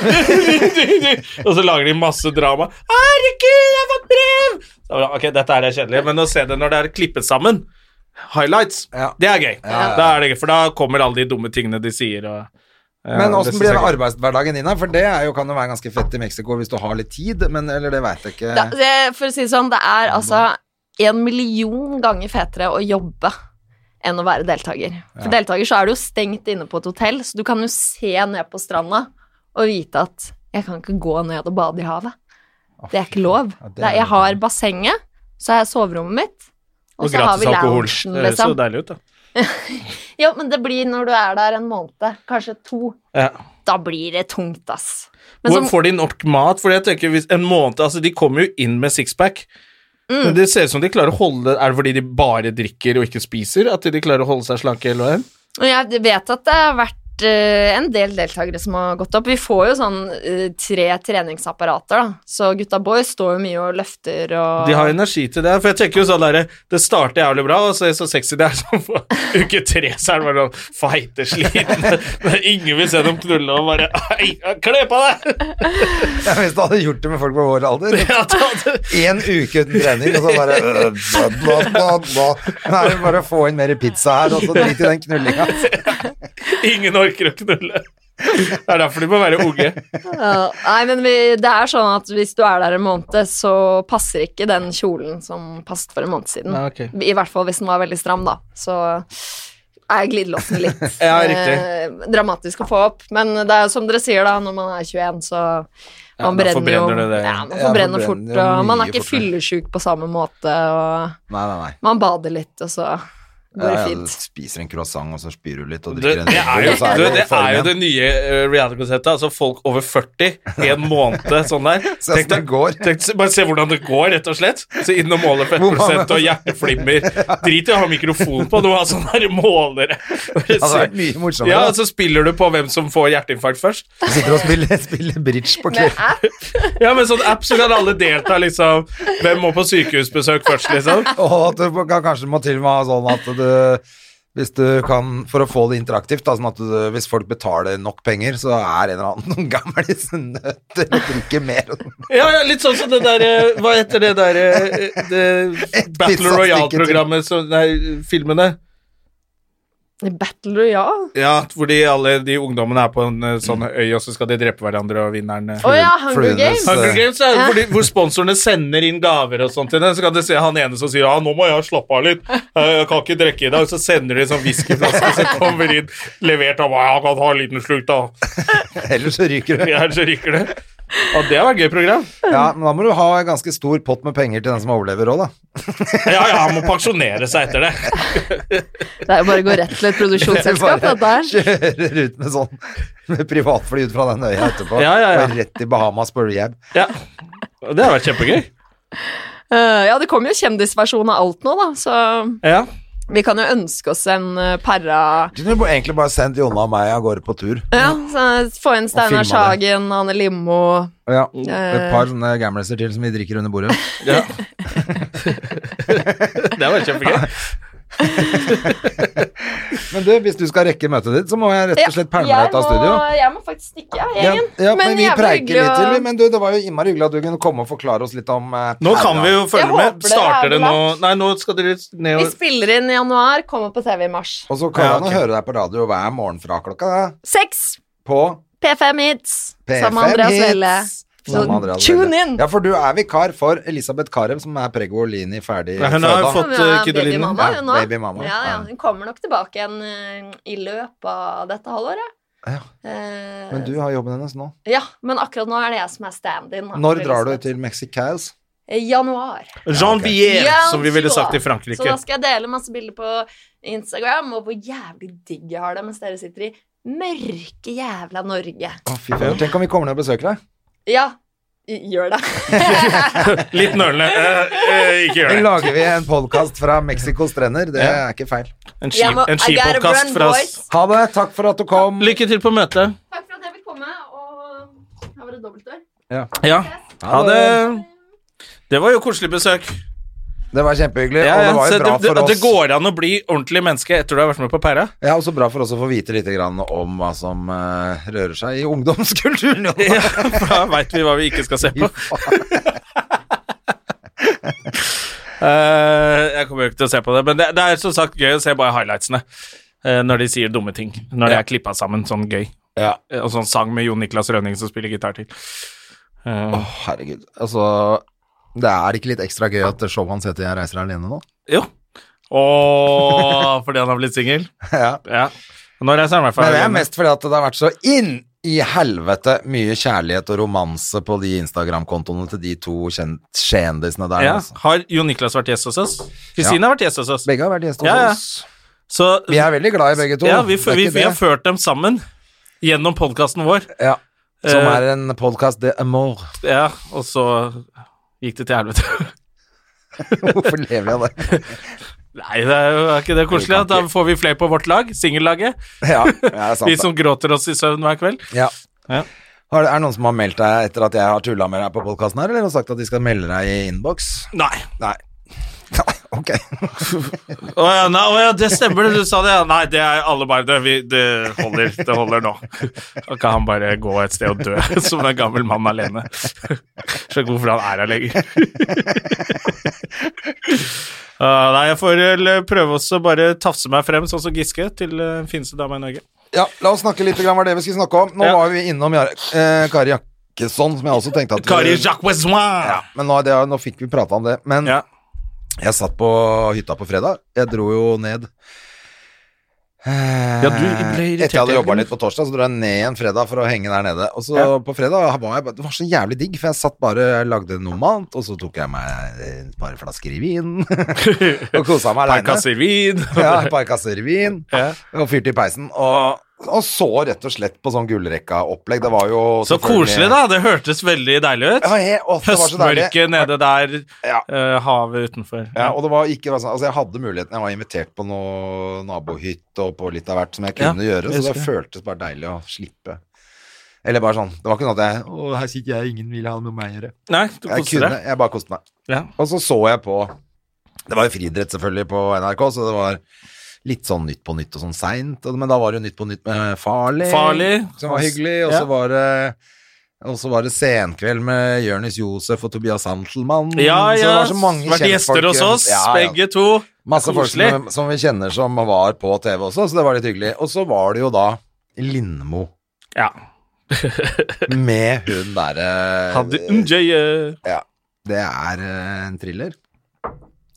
S1: brev! og så lager de masse drama. 'Herregud, jeg har fått brev!' Så, bare, ok, dette her er kjedelig, men å se det når det er klippet sammen, highlights,
S2: Ja.
S1: det er gøy.
S2: Ja.
S1: Da er det gøy, for da kommer alle de dumme tingene de sier, og ja,
S2: Men
S1: det
S2: åssen
S1: synes
S2: blir
S1: jeg er gøy.
S2: arbeidshverdagen din, da? For det er jo, kan jo være ganske fett i Mexico hvis du har litt tid, men eller det veit jeg ikke.
S1: Eh.
S3: Da, det- for å si det sånn, det er altså en million ganger fetere å jobbe enn å være deltaker. For deltaker så er du jo stengt inne på et hotell, så du kan jo se ned på stranda og vite at jeg kan ikke gå ned og bade i havet. Det er ikke lov.
S2: Ja, det
S3: Det er,
S2: er
S3: jeg har bassenget, så har jeg soverommet mitt, og, så har vi loungen,
S1: Det høres jo
S3: liksom.
S1: deilig ut, da.
S3: Ja, men det blir når du er der en måned, kanskje to,
S1: Ja.
S3: da blir det tungt, ass. Men
S1: Hvor
S3: som,
S1: får de nok mat? Fordi jeg tenker hvis en måned, altså De kommer jo inn med sixpack.
S3: Mm.
S1: Men det ser ut som de klarer å holde Er det fordi de bare drikker og ikke spiser? At de klarer å holde seg slanke hele veien?
S3: Og jeg vet at det har vært eh, en del deltakere som har gått opp. Vi får jo sånn eh, tre treningsapparater, da. Så gutta boys står jo mye og løfter og
S1: De har energi til det. For jeg tenker jo sånn der, Det starter jævlig bra, og så er det så sexy det er. Så for uke tre så er det bare sånn feite, slitne Ingen vil se dem knulle og bare «Ei, Kle på deg!
S2: Ja, hvis du hadde gjort det med folk på vår alder.
S1: Ja, ta det.
S2: Én uke uten trening, og så bare øh, bla, bla, bla, bla. Nå er det bare å få inn mer pizza her, og så drit i den knullinga.
S1: Ingen orker å knulle. Det er derfor de må være unge.
S3: Ja, Nei, men vi, det er sånn at hvis du er der en måned, så passer ikke den kjolen som passet for en måned siden.
S1: Nei, ok.
S3: I hvert fall hvis den var veldig stram, da. Så er glidelåsen litt
S1: Ja,
S3: eh, dramatisk å få opp. Men det er jo som dere sier, da, når man er 21, så
S1: Ja,
S3: man
S1: da
S3: brenner jo
S1: forbrenner det det.
S3: Ja, man
S2: Ja, forbrenner
S3: forbrenner fort,
S2: jo
S3: og man
S2: mye
S3: er ikke
S2: fortere.
S3: fyllesjuk på samme måte, og
S2: Nei, nei, nei.
S3: man bader litt, og så Går
S2: Ja, ja, du
S3: fint.
S2: spiser en croissant, og så spyr du litt, og
S1: Det,
S2: drikker en
S1: det, er jo,
S2: og så
S1: du, det
S2: form
S1: er jo
S2: igjen.
S1: det nye eh, reality-konseptet. Altså folk over 40 i en måned sånn der.
S2: Se hvordan det går.
S1: tenk deg- bare se hvordan det går, rett og slett. Så inn og måle fettprosent og hjerteflimmer. Drit i å ha mikrofon på, du har sånn der målere. Det
S2: hadde vært mye morsommere.
S1: Ja, så spiller du på hvem som får hjerteinfarkt først.
S2: Du sitter og spiller, spiller bridge på
S3: Med
S2: kvelden.
S3: app.
S1: Ja, men sånn app så kan alle delta, liksom. Hvem må på sykehusbesøk først, liksom?
S2: Og at du kan, kanskje må til og med ha sånn at du hvis du kan, For å få det interaktivt, da, sånn at du, hvis folk betaler nok penger, så er en eller annen noen gamle som nøter og drikker mer.
S1: Ja, ja, litt sånn som det der eh, Hva heter det der eh, det
S2: Et
S1: Battle
S2: pizzastykke
S1: Royale-programmet som Nei, filmene.
S3: Battle Royale.
S1: Ja, hvor de, alle de ungdommene er på en eh, sånn øy, og så skal de drepe hverandre, og vinneren eh.
S3: Å ja, Hunger
S2: Fluenes-
S3: Games.
S1: Hunger Games er hvor, de, hvor sponsorene sender inn gaver og sånt til dem. Så kan du se han ene som sier 'ja, nå må jeg slappe av litt, Eh, jeg kan ikke drikke i dag'. Så sender de en sånn whiskyflaske som kommer inn levert av 'ja, jeg kan ta en liten slurk, da'.
S2: Ellers så ryker du.
S1: Ja, så ryker det. Og det var et gøy program.
S2: Ja, men da må du ha en ganske stor pott med penger til den som overlever òg, da.
S1: Ja, ja, han må pensjonere seg etter det.
S3: Det er jo bare å gå rett til et produksjonsselskap,
S2: Bare
S3: dette her.
S2: Kjører ut med sånn med privatfly ut fra den øya etterpå.
S1: Ja, ja, ja.
S2: Og rett til Bahamas på rehab.
S1: Ja. Og Det har vært kjempegøy.
S3: Eh, ja, det kommer jo kjendisversjon av alt nå, da, så
S1: Ja.
S3: vi kan jo ønske oss en eh, para
S2: Du kunne egentlig bare sendt Jonna og meg av gårde på tur.
S3: Ja, så eh, få inn Steinar
S2: filma det.
S3: Sagen, Anne Lindmo
S2: Ja, og Et par sånne gamliser til som vi drikker under bordet.
S1: ja. Det har vært kjempegøy.
S2: Men du, hvis du skal rekke møtet ditt, så må jeg rett og slett pælme
S3: jeg
S2: deg ut av
S3: må-
S2: studio.
S3: Jeg må faktisk stikke, jeg,
S2: Ja,
S3: gjengen.
S2: ja, men, vi
S3: jævlig
S2: preiker
S3: hyggelig
S2: litt til,
S3: å-
S2: vi. Men du, det var jo innmari hyggelig at du kunne komme og forklare oss litt om eh,
S1: Nå
S2: perla.
S1: kan vi jo
S3: Jeg
S1: følge
S3: håper
S1: med.
S3: dere
S1: Starter
S3: er
S1: det nå
S3: blant.
S1: Nei, nå skal dere ned
S3: Vi
S1: og
S3: spiller inn i januar, kommer på TV i mars.
S2: Og så kan
S1: Ja,
S2: man
S1: ok.
S2: jo høre deg på radio hver morgen fra klokka da,
S3: Seks
S2: på
S3: P5 Hits sammen med
S2: P5
S3: Andreas
S2: Hits.
S3: Velle.
S2: Sammen med Andreas
S3: tune
S2: Velle.
S3: in.
S2: Ja, for du er vikar for Elisabeth Karev, som er prego og lini ferdig
S1: Ja, hun har jo fått-
S3: Hun er
S1: eh, Kid og Line.
S3: babymamma,
S2: Ja,
S3: hun nå.
S2: babymamma.
S3: Ja, ja.
S2: Ja.
S3: Hun kommer nok tilbake igjen eh, i løpet av dette halvåret.
S2: Ja.
S3: Eh,
S2: Men du har jobben hennes nå.
S3: Ja, men akkurat nå er det jeg som er stand-in. da,
S2: Når
S3: for
S2: drar du
S3: Elisabeth.
S2: til Mexicaus?
S3: Eh, Januar.
S1: Jean Vier,
S3: Ja,
S1: som vi ville sagt i
S3: Så
S1: Frankrike.
S3: da skal jeg dele masse bilder på Instagram, og hvor jævlig digg jeg har det mens dere sitter i mørke jævla Norge.
S2: Å, fy faen. Tenk om vi kommer ned og besøker deg.
S3: Ja, i- gjør det.
S1: Litt nølende. Eh, eh,
S2: Nå
S1: ikke gjør det.
S2: lager vi en podkast fra Mexicos strender. Det
S1: Ja.
S2: er ikke feil.
S1: En
S3: Jeg må-
S1: skip- en
S3: I gotta
S1: skipodkast
S3: run,
S1: fra
S3: boys.
S1: oss.
S2: Ha det. Takk for at du kom.
S1: Lykke til på møtet.
S3: Takk for at jeg fikk komme, og her var det dobbeltdør.
S1: Ja. Ha det. Det var jo koselig besøk.
S2: Det var kjempehyggelig,
S1: Ja, ja.
S2: og det var
S1: Så
S2: jo bra
S1: det, det,
S2: for
S1: det
S2: oss.
S1: går an å bli ordentlig menneske etter du har vært med på Pæra.
S2: Det er også bra for oss å få vite litt grann om hva som eh, rører seg i ungdomskulturen. jo.
S1: Ja, for da veit vi hva vi ikke skal se på. Eh, jeg kommer jo ikke til å se på det, men det, det er som sagt gøy å se bare highlightsene. eh, når de sier dumme ting. Når de er klippa sammen sånn gøy.
S2: Ja.
S1: Eh, Og sånn sang med Jon Niklas Rønning som spiller gitar til. Eh,
S2: Å, herregud. Altså, det er ikke litt ekstra gøy at showet hans heter 'Jeg reiser alene' nå?
S1: Jo. Åh, fordi han har blitt singel?
S2: ja.
S1: Ja. Nå reiser han i hvert fall.
S2: Men det er
S1: alene.
S2: mest fordi at det har vært så inn i helvete mye kjærlighet og romanse på de Instagram-kontoene til de to kjen- kjendisene der.
S1: ja.
S2: Altså.
S1: Har Jon Niklas vært gjest hos oss? Kristine har vært gjest hos oss.
S2: Begge har vært gjester hos
S1: Ja, ja.
S2: oss.
S1: Så
S2: Vi er veldig glad i begge to.
S1: ja, vi,
S2: det er
S1: vi,
S2: ikke
S1: vi har
S2: det.
S1: ført dem sammen gjennom podkasten vår.
S2: ja. Som
S1: Eh,
S2: er en podkast de amour.
S1: Ja, og så gikk det til helvete.
S2: Hvorfor lever jeg av det?
S1: Nei, det er jo er ikke det koselig. at Da får vi flere på vårt lag, singellaget.
S2: Ja, det er sant.
S1: Vi
S2: det.
S1: som gråter oss i søvn hver kveld.
S2: Ja.
S1: Ja.
S2: Har, er det noen som har meldt deg etter at jeg har tulla med deg på podkasten her, eller har sagt at de skal melde deg i innboks?
S1: Nei.
S2: Nei. Nei, Ok.
S1: Å ja, nei, å ja, det stemmer, det du sa det. ja. Nei, det er alle bare det, vi, det holder. Det holder nå. Da kan han bare gå et sted og dø som en gammel mann alene. Skjønner ikke hvorfor han er her lenger. Ah, nei, jeg får vel prøve også å bare tafse meg frem, sånn som Giske, til eh, den fineste dama i Norge.
S2: Ja, la oss snakke litt om hva det vi skulle snakke om. Nå
S1: Ja.
S2: var vi innom Jar eh, Kari Jakkesson, som jeg også tenkte at vi-
S1: Kari Jacques Wesoin!
S2: Ja, men nå, er det, nå fikk vi prata om det. Men
S1: Ja.
S2: jeg satt på hytta på fredag. Jeg dro jo ned
S1: Ja, du ble irritert.
S2: Etter jeg hadde
S1: Jørgen.
S2: jobba litt på torsdag, så dro jeg ned igjen fredag for å henge der nede. Og så på fredag var jeg bare Det var så jævlig digg, for jeg satt bare jeg lagde noe mat, og så tok jeg meg et par flasker revyen og kosa meg
S1: Pakka
S2: aleine.
S1: sirvin.
S2: Ja, et par kasser revyen
S1: Ja.
S2: og fyrte i peisen. Og, og så rett og slett på sånn gullrekka-opplegg. Det var jo
S1: Så koselig, da. Det hørtes veldig deilig ut.
S2: Ja, he, å, det var så deilig.
S1: Høstmørket nede der,
S2: Ja.
S1: eh, havet utenfor.
S2: Ja, og det var ikke det var sånn- Altså, jeg hadde muligheten. Jeg var invitert på noe nabohytt og på litt av hvert som jeg
S1: Ja,
S2: kunne gjøre,
S1: jeg
S2: så det
S1: husker
S2: føltes bare deilig å slippe. Eller bare sånn Det var ikke sånn at jeg Å, her sitter jeg, ingen vil ha noe med meg å gjøre.
S1: Nei, du
S2: Jeg
S1: koser
S2: kunne,
S1: deg.
S2: jeg bare koste meg.
S1: Ja.
S2: Og så så jeg på Det var jo friidrett, selvfølgelig, på NRK, så det var litt sånn Nytt på Nytt og sånn seint, og- men da var det jo Nytt på Nytt med Farlig,
S1: Farley.
S2: som var hyggelig, og
S1: Ja.
S2: så var det og så var det Senkveld med Jonis Josef og Tobias Hantelmann.
S1: Ja,
S2: Mm, Så det
S1: ja.
S2: var så mange eh,
S1: Vært gjester hos oss,
S2: Ja, ja.
S1: begge to.
S2: Masse folk
S1: Koselig.
S2: som, som vi kjenner som var på TV også, så det var litt hyggelig. Og så var det jo da Lindmo
S1: Ja.
S2: med hun derre
S1: Hadde MJ eh,
S2: Ja. Det er eh, en thriller.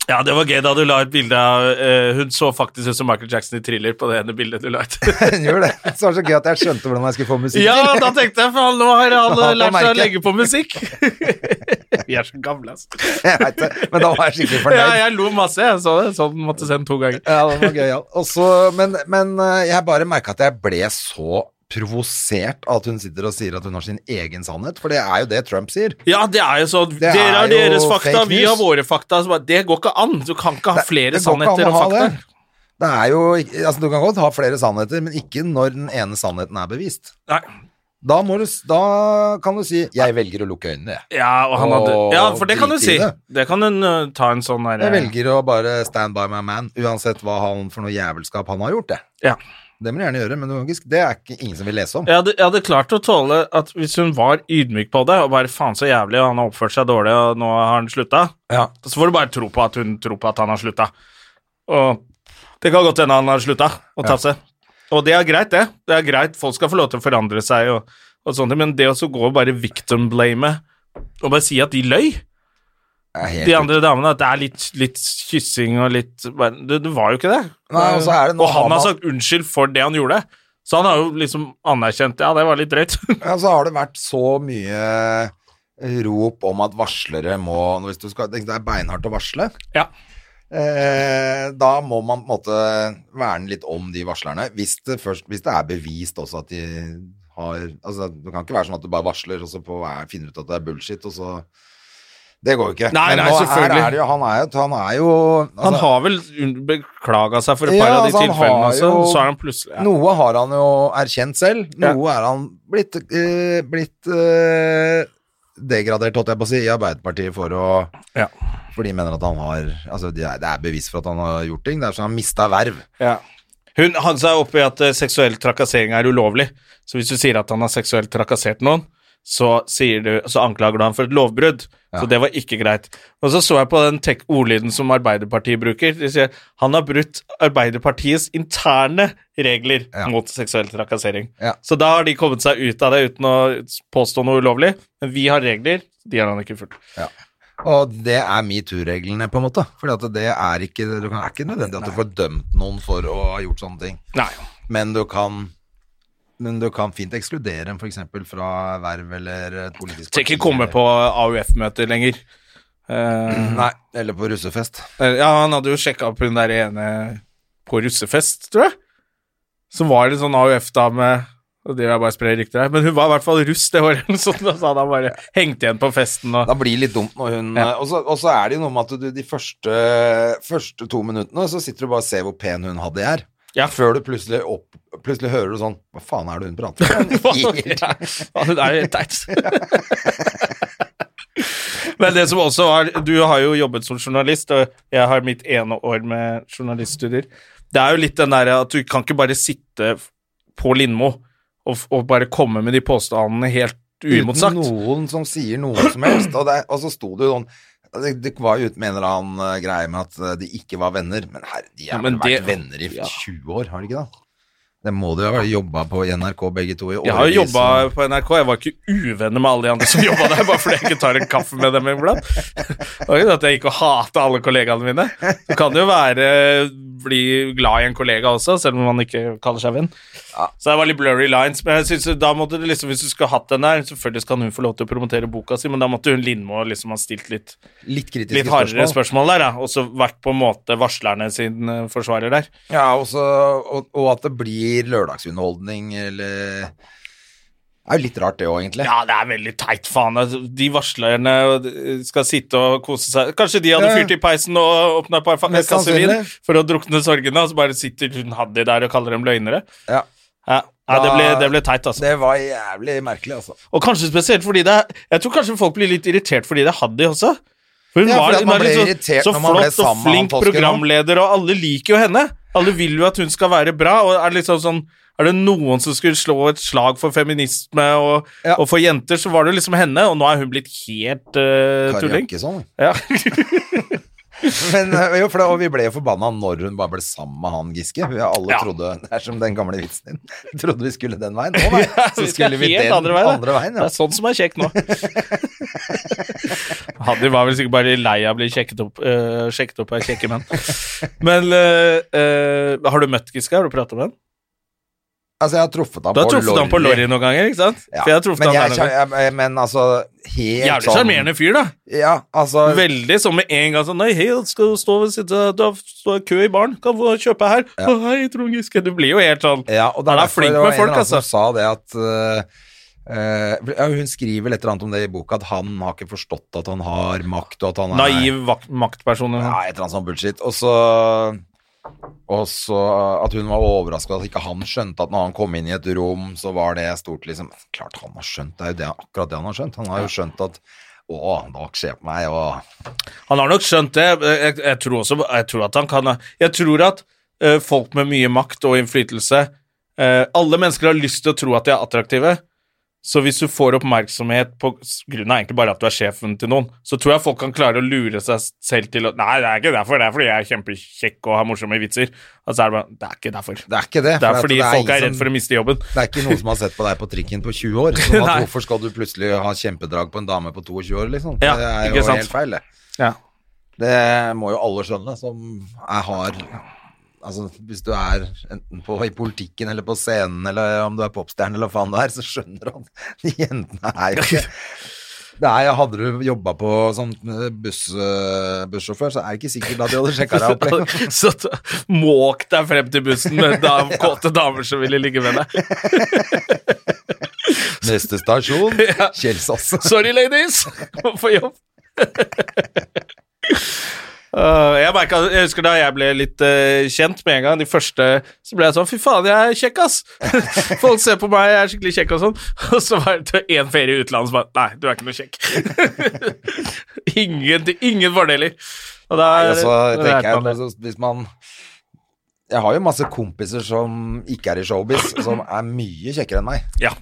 S1: Ja, det var gøy da du la et bilde av eh, Hun så faktisk ut som Michael Jackson i Thriller på det ene bildet du la ut.
S2: Hun gjør det. Så var det så gøy at jeg skjønte hvordan jeg skulle få musikk
S1: ja,
S2: til.
S1: da tenkte jeg, for han- nå har han eh,
S2: Da
S1: lært seg å
S2: merker jeg.
S1: legge på musikk. Vi er så gamle, altså.
S2: Jeg vet det, Men da var jeg skikkelig fornøyd.
S1: Ja, jeg lo masse, jeg så det. Sånn måtte se den to ganger.
S2: Ja, det var gøy, ja. Og så- men, men eh, jeg bare merka at jeg ble så provosert av at hun sitter og sier at hun har sin egen sannhet, for det er jo det Trump sier.
S1: Ja, det er jo sånn
S2: Det er
S1: Dere har
S2: jo
S1: deres fakta,
S2: fake
S1: vi
S2: news.
S1: har våre fakta. Så bare, det går ikke an. Du kan ikke ha
S2: Det-
S1: flere
S2: det går ikke
S1: sannheter
S2: an å
S1: og
S2: ha
S1: fakta.
S2: det. Det er jo, ikke- altså Du kan godt ha flere sannheter, men ikke når den ene sannheten er bevist.
S1: Nei.
S2: Da, må du, s- da kan du si 'jeg velger å lukke øynene', jeg.
S1: Ja, og han hadde,
S2: Åh,
S1: ja, for det kan du
S2: drit i
S1: si.
S2: det.
S1: Det kan hun eh, ta en sånn
S2: Jeg
S1: derre
S2: velger å bare stand by my man, uansett hva han for noe jævelskap han har gjort, det.
S1: Ja.
S2: Det må du gjerne gjøre, men du kan ikke, det er ikke ingen som vil lese om.
S1: Jeg hadde, jeg hadde klart å tåle at hvis hun var ydmyk på det, og bare faen så jævlig, og han har oppført seg dårlig, og nå har han slutta,
S2: Ja.
S1: så får du bare tro på at hun tror på at han har slutta. Og det kan godt hende han har slutta å tafse. Og det er greit, det. Det er greit, Folk skal få lov til å forandre seg, og, og sånne ting, men det å så gå og bare victim-blame og bare si at de løy,
S2: Det er helt
S1: de andre damene, at det er litt, litt kyssing og litt bare, det, det var jo ikke det.
S2: Nei, og så er det- nå
S1: Og
S2: har
S1: han har
S2: man-
S1: sagt unnskyld for det han gjorde. Så han har jo liksom anerkjent Ja, det var litt drøyt.
S2: Ja, så har det vært så mye rop om at varslere må Hvis du skal, det er beinhardt å varsle.
S1: Ja.
S2: Eh, da må man på en måte verne litt om de varslerne. Hvis det, først, hvis det er bevist også at de har altså Det kan ikke være sånn at du bare varsler, og så på, er, finner du ut at det er bullshit, og så Det går jo ikke.
S1: Nei, nei,
S2: nå her
S1: selvfølgelig.
S2: Er det jo, han er jo, han er jo
S1: Han
S2: altså,
S1: har vel un- beklaga seg for et
S2: Ja,
S1: par av de
S2: altså, han
S1: tilfellene
S2: har
S1: også,
S2: jo-
S1: så er han plutselig ja.
S2: Noe har han jo erkjent selv,
S1: Ja.
S2: noe er han blitt, eh, blitt eh, degradert, holdt jeg på å si, i Arbeiderpartiet for å
S1: Ja.
S2: For de mener at han har Altså, de er, det er bevis for at han har gjort ting. Det er som han mista verv.
S1: Hun hang seg opp i at eh, seksuell trakassering er ulovlig. Så hvis du sier at han har seksuelt trakassert noen, så, sier du, så anklager du ham for et lovbrudd. Så det var ikke greit. Og så så jeg på den tek- ordlyden som Arbeiderpartiet bruker. De sier han har brutt Arbeiderpartiets interne regler
S2: Ja.
S1: mot seksuell trakassering.
S2: Ja.
S1: Så da har de kommet seg ut av det uten å påstå noe ulovlig. Men vi har regler, de har han ikke fulgt.
S2: Og det er metoo-reglene, på en måte. For det er ikke, du kan, er ikke nødvendig at du får dømt noen for å ha gjort sånne ting.
S1: Nei.
S2: Men du kan men du kan fint ekskludere en f.eks. fra verv eller et politisk
S1: Skal ikke komme på AUF-møter lenger. Eh,
S2: Nei, eller på russefest.
S1: Ja, han hadde jo sjekka opp hun der ene på russefest, tror jeg. Så var det en sånn AUF-dame og det jeg bare sprer rykter her, Men hun var i hvert fall russ det året, eller noe sånt, og så hadde han bare hengt igjen på festen. Og,
S2: Da blir det litt dumt når hun eh,
S1: Ja.
S2: og, så, og så er det jo noe med at du de første, første to minuttene så sitter du bare og ser hvor pen hun hadde er.
S1: Ja.
S2: Før du plutselig, opp, plutselig hører du sånn Hva faen er det hun prater om?
S1: Ja, det er jo teit. Men det som også er Du har jo jobbet som journalist, og jeg har mitt ene år med journaliststudier. Det er jo litt den derre at du kan ikke bare sitte på Lindmo og, og bare komme med de påstandene helt uimotsagt.
S2: Uten noen som sier noe som helst. Og, det, og så sto det jo sånn det, det var jo ute med en eller annen eh, greie med at eh, de ikke var venner. Men herre, de
S1: Ja,
S2: har
S1: men
S2: vel vært
S1: det-
S2: venner i
S1: ja.
S2: 20 år, har de ikke det? Det må du jo ha jobba på i NRK begge to i årevis. sånn
S1: Jeg har jo jobba på NRK. Jeg var ikke uvenner med alle de andre som jobba der, bare fordi jeg ikke tar en kaffe med dem iblant. Det var ikke det at jeg gikk og hata alle kollegaene mine. Du kan jo være bli glad i en kollega også, selv om man ikke kaller seg venn. Så det var litt blurry lines. Men jeg synes, da måtte det liksom, hvis du skulle hatt den der, selvfølgelig skal hun få lov til å promotere boka si, men da måtte hun Lindmo liksom ha stilt litt
S2: Litt kritiske
S1: litt hardere
S2: spørsmål.
S1: spørsmål der, da. Og så vært på en måte varslerne sin eh, forsvarer der.
S2: Ja, og så- og, og at det blir lørdagsunderholdning, eller Det er jo litt rart, det òg, egentlig.
S1: Ja, det er veldig teit, faen. Altså, De varslerne eh, skal sitte og kose seg. Kanskje de hadde
S2: Ja, ja.
S1: fyrt i peisen og åpna et par fa-
S2: Mest
S1: kasser vin
S2: sannsynlig.
S1: for å drukne sorgene, og så bare sitter hun Haddy der og kaller dem løgnere.
S2: Ja.
S1: Ja. Nei, det, ble,
S2: Da-
S1: det ble teit, altså.
S2: Det var jævlig merkelig, altså.
S1: Og kanskje spesielt fordi det er Jeg tror kanskje folk blir litt irritert fordi det er Haddy også. For hun
S2: Ja,
S1: var,
S2: fordi at
S1: hun
S2: man
S1: er
S2: ble
S1: litt så,
S2: irritert
S1: så
S2: når man ble
S1: flott og
S2: sammen med han
S1: flink
S2: Tosken nå.
S1: programleder, og alle liker jo henne. Alle vil jo at hun skal være bra, og er liksom sånn er det noen som skulle slå et slag for feminisme og,
S2: Ja.
S1: og for jenter, så var det liksom henne, og nå er hun blitt helt eh,
S2: Kari
S1: tulling.
S2: Jakkesson.
S1: Ja.
S2: Men eh, jo, for det, og vi ble jo forbanna når hun bare ble sammen med han Giske. Vi alle
S1: Ja.
S2: trodde Det er som den gamle vitsen din. Trodde vi skulle den veien. Å nei, så
S1: Vi skal
S2: skulle vi
S1: helt
S2: den
S1: andre veien, da. Det
S2: ja.
S1: er sånn som er kjekt nå. Haddy var vel sikkert bare lei av å bli sjekket opp, eh, sjekket opp av kjekke menn. Men eh, eh, har du møtt Giske? Har du pratet med han?
S2: Altså, jeg har truffet ham
S1: Du har truffet han på Lorry noen ganger, ikke sant?
S2: Ja.
S1: For jeg har truffet
S2: men,
S1: han der
S2: jeg,
S1: noen ganger.
S2: jeg, men altså helt sånn-
S1: Jævlig sjarmerende fyr, da.
S2: Ja, altså
S1: Veldig sånn med en gang sånn Nei, hei, skal du stå ved siden Du har stå i kø i baren, kan få kjøpe her. Å, hei, Trond Giske. Du blir jo helt sånn
S2: ja, og det
S1: Han er
S2: derfor
S1: flink
S2: det var en
S1: med
S2: eller
S1: folk,
S2: annen som
S1: altså.
S2: sa det at eh, eh, ja, Hun skriver litt eller annet om det i boka, at han har ikke forstått at han har makt, og at han er
S1: naiv vak- maktperson.
S2: Ja, et eller annet sånn bullshit. Og så og så At hun var overraska at ikke han skjønte at når han kom inn i et rom, så var det stort liksom Klart han har skjønt, det er jo det, akkurat det han har skjønt. Han har jo skjønt at å, det skjer på meg, og
S1: Han har nok skjønt det. Jeg, jeg tror også jeg tror at han kan Jeg tror at eh, folk med mye makt og innflytelse eh, Alle mennesker har lyst til å tro at de er attraktive. Så hvis du får oppmerksomhet på grunn av egentlig bare at du er sjefen til noen, så tror jeg folk kan klare å lure seg selv til å Nei, det er ikke derfor. Det er fordi jeg er kjempekjekk og har morsomme vitser. Og så er det bare Det er ikke derfor.
S2: Det er ikke det.
S1: Det
S2: for
S1: er fordi
S2: at
S1: folk
S2: ingen
S1: er redd
S2: som-
S1: for å miste jobben.
S2: Det er ikke noen som har sett på deg på trikken på 20 år. Sånn at
S1: Nei.
S2: hvorfor skal du plutselig ha kjempedrag på en dame på 22 år, liksom?
S1: Ja,
S2: det er
S1: ikke
S2: jo
S1: sant.
S2: helt feil, det.
S1: Ja.
S2: Det må jo alle skjønne, som er hard Altså, hvis du er enten på, i politikken eller på scenen, eller om du er popstjerne eller hva faen det er, så skjønner han. De jentene er jo ikke det er, Hadde du jobba på som eh, buss, eh, bussjåfør, så er det ikke sikkert at de hadde sjekka deg opp. Liksom.
S1: Så t- måk deg frem til bussen med da, kåte damer som ville ligge med deg.
S2: Neste stasjon, Kjelsås.
S1: Sorry, ladies! Må få jobb. Uh, jeg, merket, jeg husker da jeg ble litt eh, kjent med en gang. De første så ble jeg sånn Fy faen, jeg er kjekk, ass! Folk ser på meg, jeg er skikkelig kjekk og sånn. Og så var det én ferie i utlandet som bare Nei, du er ikke noe kjekk. ingen, ingen fordeler. Og da
S2: Nei, altså,
S1: da
S2: tenker
S1: lærte
S2: jeg,
S1: man det.
S2: altså, hvis man Jeg har jo masse kompiser som ikke er i showbiz, som er mye kjekkere enn meg.
S1: Ja,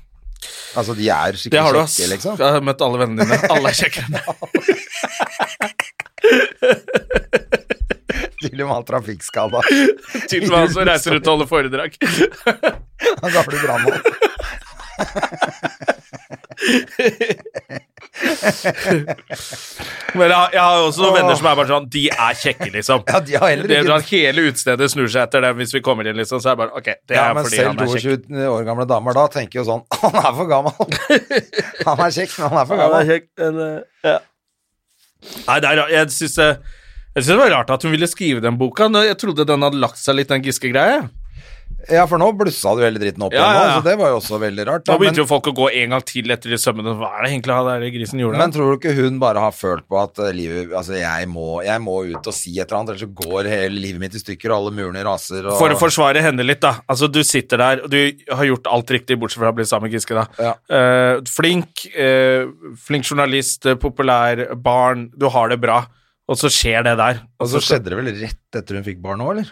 S2: Altså, de er
S1: det har du,
S2: skikkelig
S1: ass.
S2: kjekke, liksom.
S1: Jeg har møtt alle vennene dine. Alle er kjekkere enn deg.
S2: Til og med han trafikkskada.
S1: Til og med han som altså, reiser ut og holder foredrag.
S2: Han gamle brannmannen.
S1: Men jeg, har- jeg har jo også noen venner som er bare sånn De er kjekke, liksom.
S2: Ja, de har heller
S1: Det er
S2: ikke
S1: sånn, hele utestedet snur seg etter dem hvis vi kommer inn, liksom. Så er det bare Ok, det
S2: ja,
S1: er
S2: men
S1: fordi
S2: selv
S1: han er kjekk.
S2: 22 år gamle damer da tenker jo sånn Han er for gammel! Han er kjekk, men han er for
S1: Han er
S2: gammel.
S1: kjekk, men, eh, ja. Nei, det er, ra- jeg syns det jeg synes det var rart at hun ville skrive den boka. Nå- Jeg trodde den hadde lagt seg litt, den Giske-greia.
S2: Ja, for nå blussa du hele dritten opp
S1: Ja,
S2: igjen, nå,
S1: ja, ja.
S2: så det var jo også veldig rart. Da.
S1: Da
S2: Men,
S1: begynte jo folk å gå en gang til etter de sømmene. Hva er det egentlig han der grisen gjorde?
S2: men tror du ikke hun bare har følt på at eh, livet Altså, jeg må, jeg må ut og si et eller annet, ellers så går hele livet mitt i stykker, og alle murene raser og
S1: For å forsvare henne litt, da. Altså, du sitter der, og du har gjort alt riktig, bortsett fra å bli sammen med Giske, da.
S2: Ja.
S1: Eh, flink, eh, flink journalist, eh, populær, barn, du har det bra. Og så skjer det der.
S2: Og så skjedde det vel rett etter hun fikk barn òg, eller?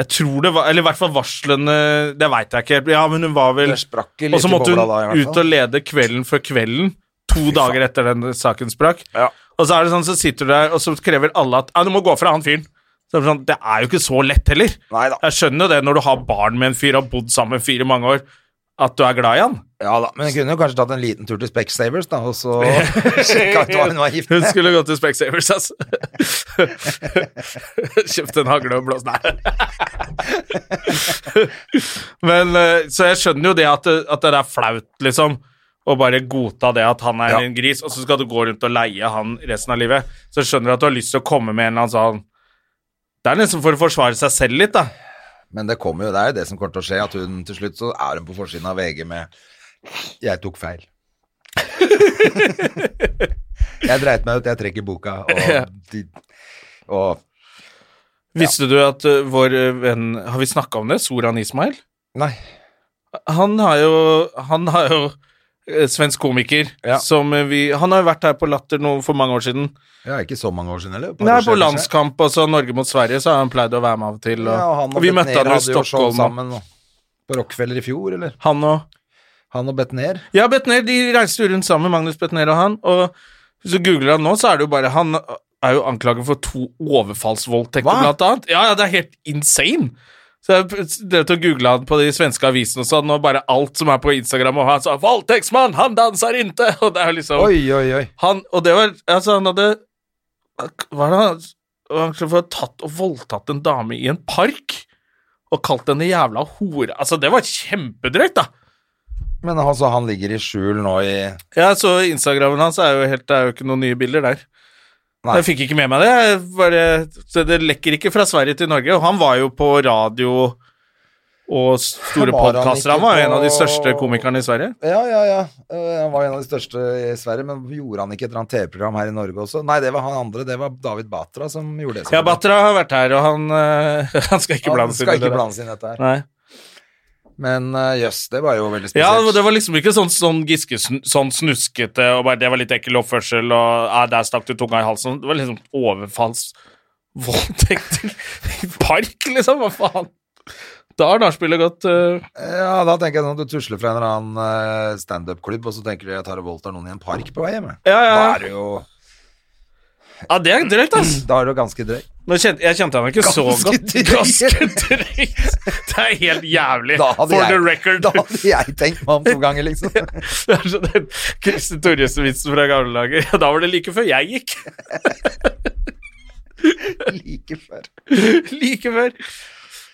S1: Jeg tror det var Eller i hvert fall varslene Det veit jeg ikke helt. Ja, men hun var vel
S2: Det sprakk litt
S1: Og så
S2: i
S1: måtte hun
S2: bobla da, i hvert
S1: ut
S2: fall.
S1: og lede Kvelden før kvelden, to dager etter den saken sprakk.
S2: Ja.
S1: Og så er det sånn, så sitter du der, og så krever alle at Ja, du må gå fra han fyren. Så det er, sånn, det er jo ikke så lett heller.
S2: Nei da.
S1: Jeg skjønner jo det når du har barn med en fyr og har bodd sammen med en fyr i mange år, at du er glad i han.
S2: Ja da, men hun kunne jo kanskje tatt en liten tur til Specsavers, da, og så sjekka ut hva hun var gift
S1: Hun
S2: med.
S1: skulle gått til Specsavers, altså. Kjøpt en hagle og blåst Nei. Men, eh, så jeg skjønner jo det at, det- at det er flaut, liksom. Å bare godta det at han er
S2: Ja.
S1: en gris, og så skal du gå rundt og leie han resten av livet. Så jeg skjønner at du har lyst til å komme med en eller annen sånn Det er nesten for å forsvare seg selv litt, da.
S2: Men det kommer jo, det er jo det som kommer til å skje, at hun til slutt så er hun på forsiden av VG med 'Jeg tok feil'. jeg dreit meg ut, jeg trekker boka, og, de, og
S1: Visste du at eh, vår eh, venn Har vi snakka om det? Soran Ismail?
S2: Nei.
S1: Han har jo Han har jo eh, Svensk komiker
S2: Ja.
S1: som eh, vi Han har jo vært her på Latter nå for mange år siden.
S2: Ja, ikke så mange år siden, eller? Et par år
S1: Nei, på
S2: siden, kanskje?
S1: landskamp, altså Norge mot Sverige, så har han pleid å være med av og til. Og,
S2: Ja, og han og,
S1: og vi møtte han jo i
S2: hadde jo show
S1: Stockholm. og-
S2: sammen nå. på Rockefeller i fjor, eller?
S1: Han og
S2: Han og Betnér.
S1: Ja, Betnér, de reiste jo rundt sammen, Magnus Betnér og han, og hvis du googler han nå, så er det jo bare Han er jo anklaget for to overfallsvoldtekter,
S2: Hva?
S1: blant annet. Ja, ja, det er helt insane! Så jeg drev til å google han på de svenske avisene og sånn, og bare alt som er på Instagram, og han sa 'voldtektsmann, han danser inte', og det er jo liksom
S2: Oi, oi, oi.
S1: Han, og det var Altså, han hadde Hva er det han Han skulle få tatt og voldtatt en dame i en park og kalt henne jævla hore. Altså, det var kjempedrøyt, da.
S2: Men altså, han ligger i skjul nå i
S1: Jeg så Instagramen hans, er jo helt, det er jo ikke noen nye bilder der.
S2: Nei.
S1: Jeg fikk ikke med meg det. Jeg bare, så det lekker ikke fra Sverige til Norge. Og han var jo på radio og store
S2: Var han
S1: podkaster.
S2: ikke
S1: Han var jo en av de
S2: på-
S1: største komikerne i Sverige.
S2: Ja, ja, ja. Eh, Han var en av de største i Sverige, men gjorde han ikke et eller annet TV-program her i Norge også? Nei, det var han andre. Det var David Batra som gjorde det.
S1: Ja, Batra har vært her, og han, eh, han skal ikke
S2: Han
S1: blandes
S2: skal
S1: inn i
S2: ikke
S1: det. der.
S2: blandes inn i dette her.
S1: Nei.
S2: Men eh, jøss, det var jo veldig
S1: Ja,
S2: spesielt.
S1: det var liksom ikke sånn, sånn Giske sn- sånn snuskete og bare det var litt ekkel oppførsel og ja, der stakk du tunga i halsen. Det var liksom overfallsvoldtekter i park, liksom. Hva faen? Da har nachspielet gått eh,
S2: Ja, da tenker jeg sånn, du tusler fra en eller annen eh, standup-klubb, og så tenker du jeg tar og voldtar noen i en park på vei hjem. jeg».
S1: Ja, ja.
S2: Da er det jo
S1: Ja, det er drøyt, ass.
S2: Da er det jo ganske drøy.
S1: Mm. Nå kjente, jeg kjente han ikke så
S2: Ganske
S1: godt.
S2: drøyt.
S1: Ganske drøyt. Det er helt jævlig.
S2: Da hadde
S1: For the
S2: jeg-
S1: record.
S2: Da hadde jeg tenkt meg om to ganger, liksom.
S1: Det er sånn den Kristin Torjussen-vitsen fra gamle dager. Ja, da var det like før jeg gikk.
S2: like før.
S1: like før.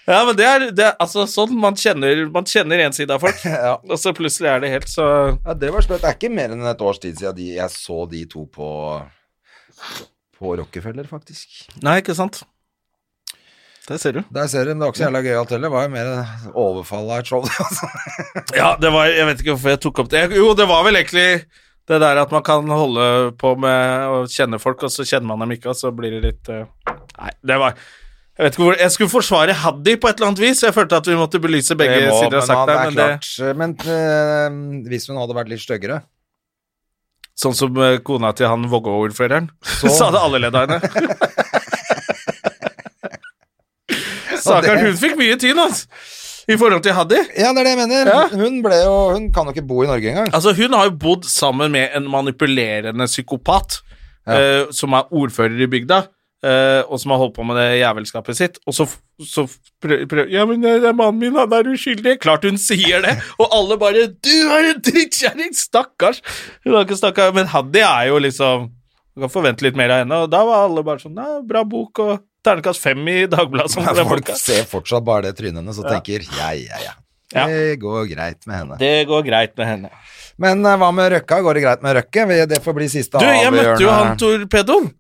S1: Ja, men det er, det er altså sånn man kjenner, man kjenner en side av folk,
S2: Ja.
S1: og så plutselig er det helt så
S2: Ja, det var slett. Det er ikke mer enn et års tid siden de, jeg så de to på, på Rockefeller, faktisk.
S1: Nei, ikke sant? Det ser du.
S2: Der ser du, men det var ikke så jævla gøyalt heller. Det var jo mer overfall av et show. Altså.
S1: Ja, det var Jeg vet ikke hvorfor jeg tok opp det. Jo, det var vel egentlig det der at man kan holde på med å kjenne folk, og så kjenner man dem ikke, og så blir det litt eh, Nei, det var Jeg vet ikke hvor Jeg skulle forsvare Haddy på et eller annet vis. Jeg følte at vi måtte belyse begge
S2: Det må,
S1: sider av
S2: han-
S1: saken her,
S2: det er
S1: men det
S2: klart. Men eh, hvis hun hadde vært litt styggere
S1: Sånn som eh, kona til han Vågå-ordføreren. Så
S2: Så-
S1: hadde alle ledd av henne. Stakkar, hun fikk mye tyn, altså. I forhold til Haddy.
S2: Ja, det er det jeg mener.
S1: Ja.
S2: Hun, ble jo, hun kan jo ikke bo i Norge engang.
S1: Altså, hun har jo bodd sammen med en manipulerende psykopat, eh, som er ordfører i bygda, eh, og som har holdt på med det jævelskapet sitt, og så, f- så f- prøv, prøv, Ja, men eh, det er mannen min, han er uskyldig. Klart hun sier det, og alle bare Du er en drittkjerring! Stakkars! Hun har ikke stakkar, men Haddy er jo liksom Du kan forvente litt mer av henne, og da var alle bare sånn Nei, bra bok, og ternekast fem i Dagbladet som bra
S2: Folk
S1: boka.
S2: ser fortsatt bare det trynet hennes og tenker ja, ja, ja.
S1: Ja.
S2: Det går greit med henne.
S1: Det går greit med henne.
S2: Men eh, hva med Røkka? Går det greit med Røkke? Vi- Det får bli siste
S1: Du, jeg
S2: avgjørende.
S1: møtte jo han torpedoen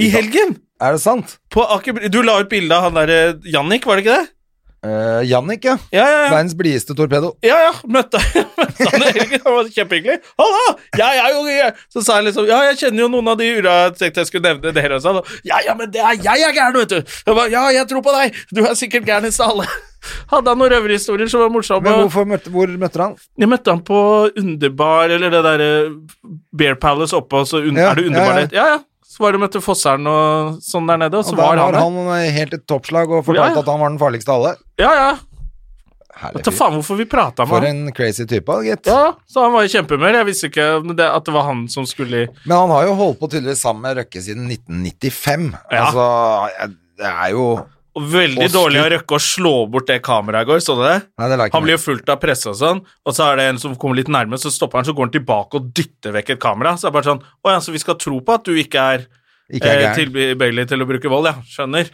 S1: i helgen.
S2: Er det sant?
S1: På Aker, Bry- du la ut bilde av han derre Jannik, var det ikke det?
S2: Eh, Jannik, ja.
S1: Ja, ja, ja.
S2: Verdens blideste torpedo.
S1: Ja, ja, møtte, møtte han i helgen. Han var kjempehyggelig. 'Hallo! Jeg er jo jeg. Så sa jeg liksom 'Ja, jeg kjenner jo noen av de ura jeg tenkte jeg skulle nevne dere', og sånn. Og, 'Ja, ja, men det er jeg er gæren, vet du'. Jeg ba, 'Ja, jeg tror på deg. Du er sikkert gærnest av alle'. Hadde han noen røverhistorier som var morsomme?
S2: Men hvorfor møtte, hvor møtte du han?
S1: Jeg møtte han på Underbar, eller det derre Bear Palace oppe, og så un
S2: Ja,
S1: er det
S2: ja,
S1: Underbar
S2: ja.
S1: der. Ja, ja. Så var det møtte Fosseren og sånn der nede, og så
S2: Og
S1: var
S2: der
S1: han
S2: var
S1: der.
S2: han, eh, helt i toppslag og fortalte
S1: Ja, ja.
S2: at han var den farligste av alle.
S1: Ja, ja.
S2: Herlig
S1: Vet da
S2: fyr.
S1: faen hvorfor vi prata med
S2: For
S1: han.
S2: en crazy type, da, gitt.
S1: Ja, så han var i kjempehumør. Jeg visste ikke om det, at det var han som skulle i
S2: Men han har jo holdt på tydeligvis sammen med Røkke siden 1995.
S1: Ja.
S2: Altså, jeg, det er jo
S1: Og veldig
S2: Og
S1: dårlig å
S2: skutt.
S1: rekke å slå bort det kameraet i går, så du det?
S2: Nei, det la jeg ikke
S1: Han blir
S2: merke
S1: jo fullt av presse og sånn, og så er det en som kommer litt nærme, så stopper han, så går han tilbake og dytter vekk et kamera. Så det er bare sånn Å ja, så vi skal tro på at du ikke er,
S2: Ikke er
S1: eh,
S2: gæren.
S1: tilbøyelig til å bruke vold, ja. Skjønner.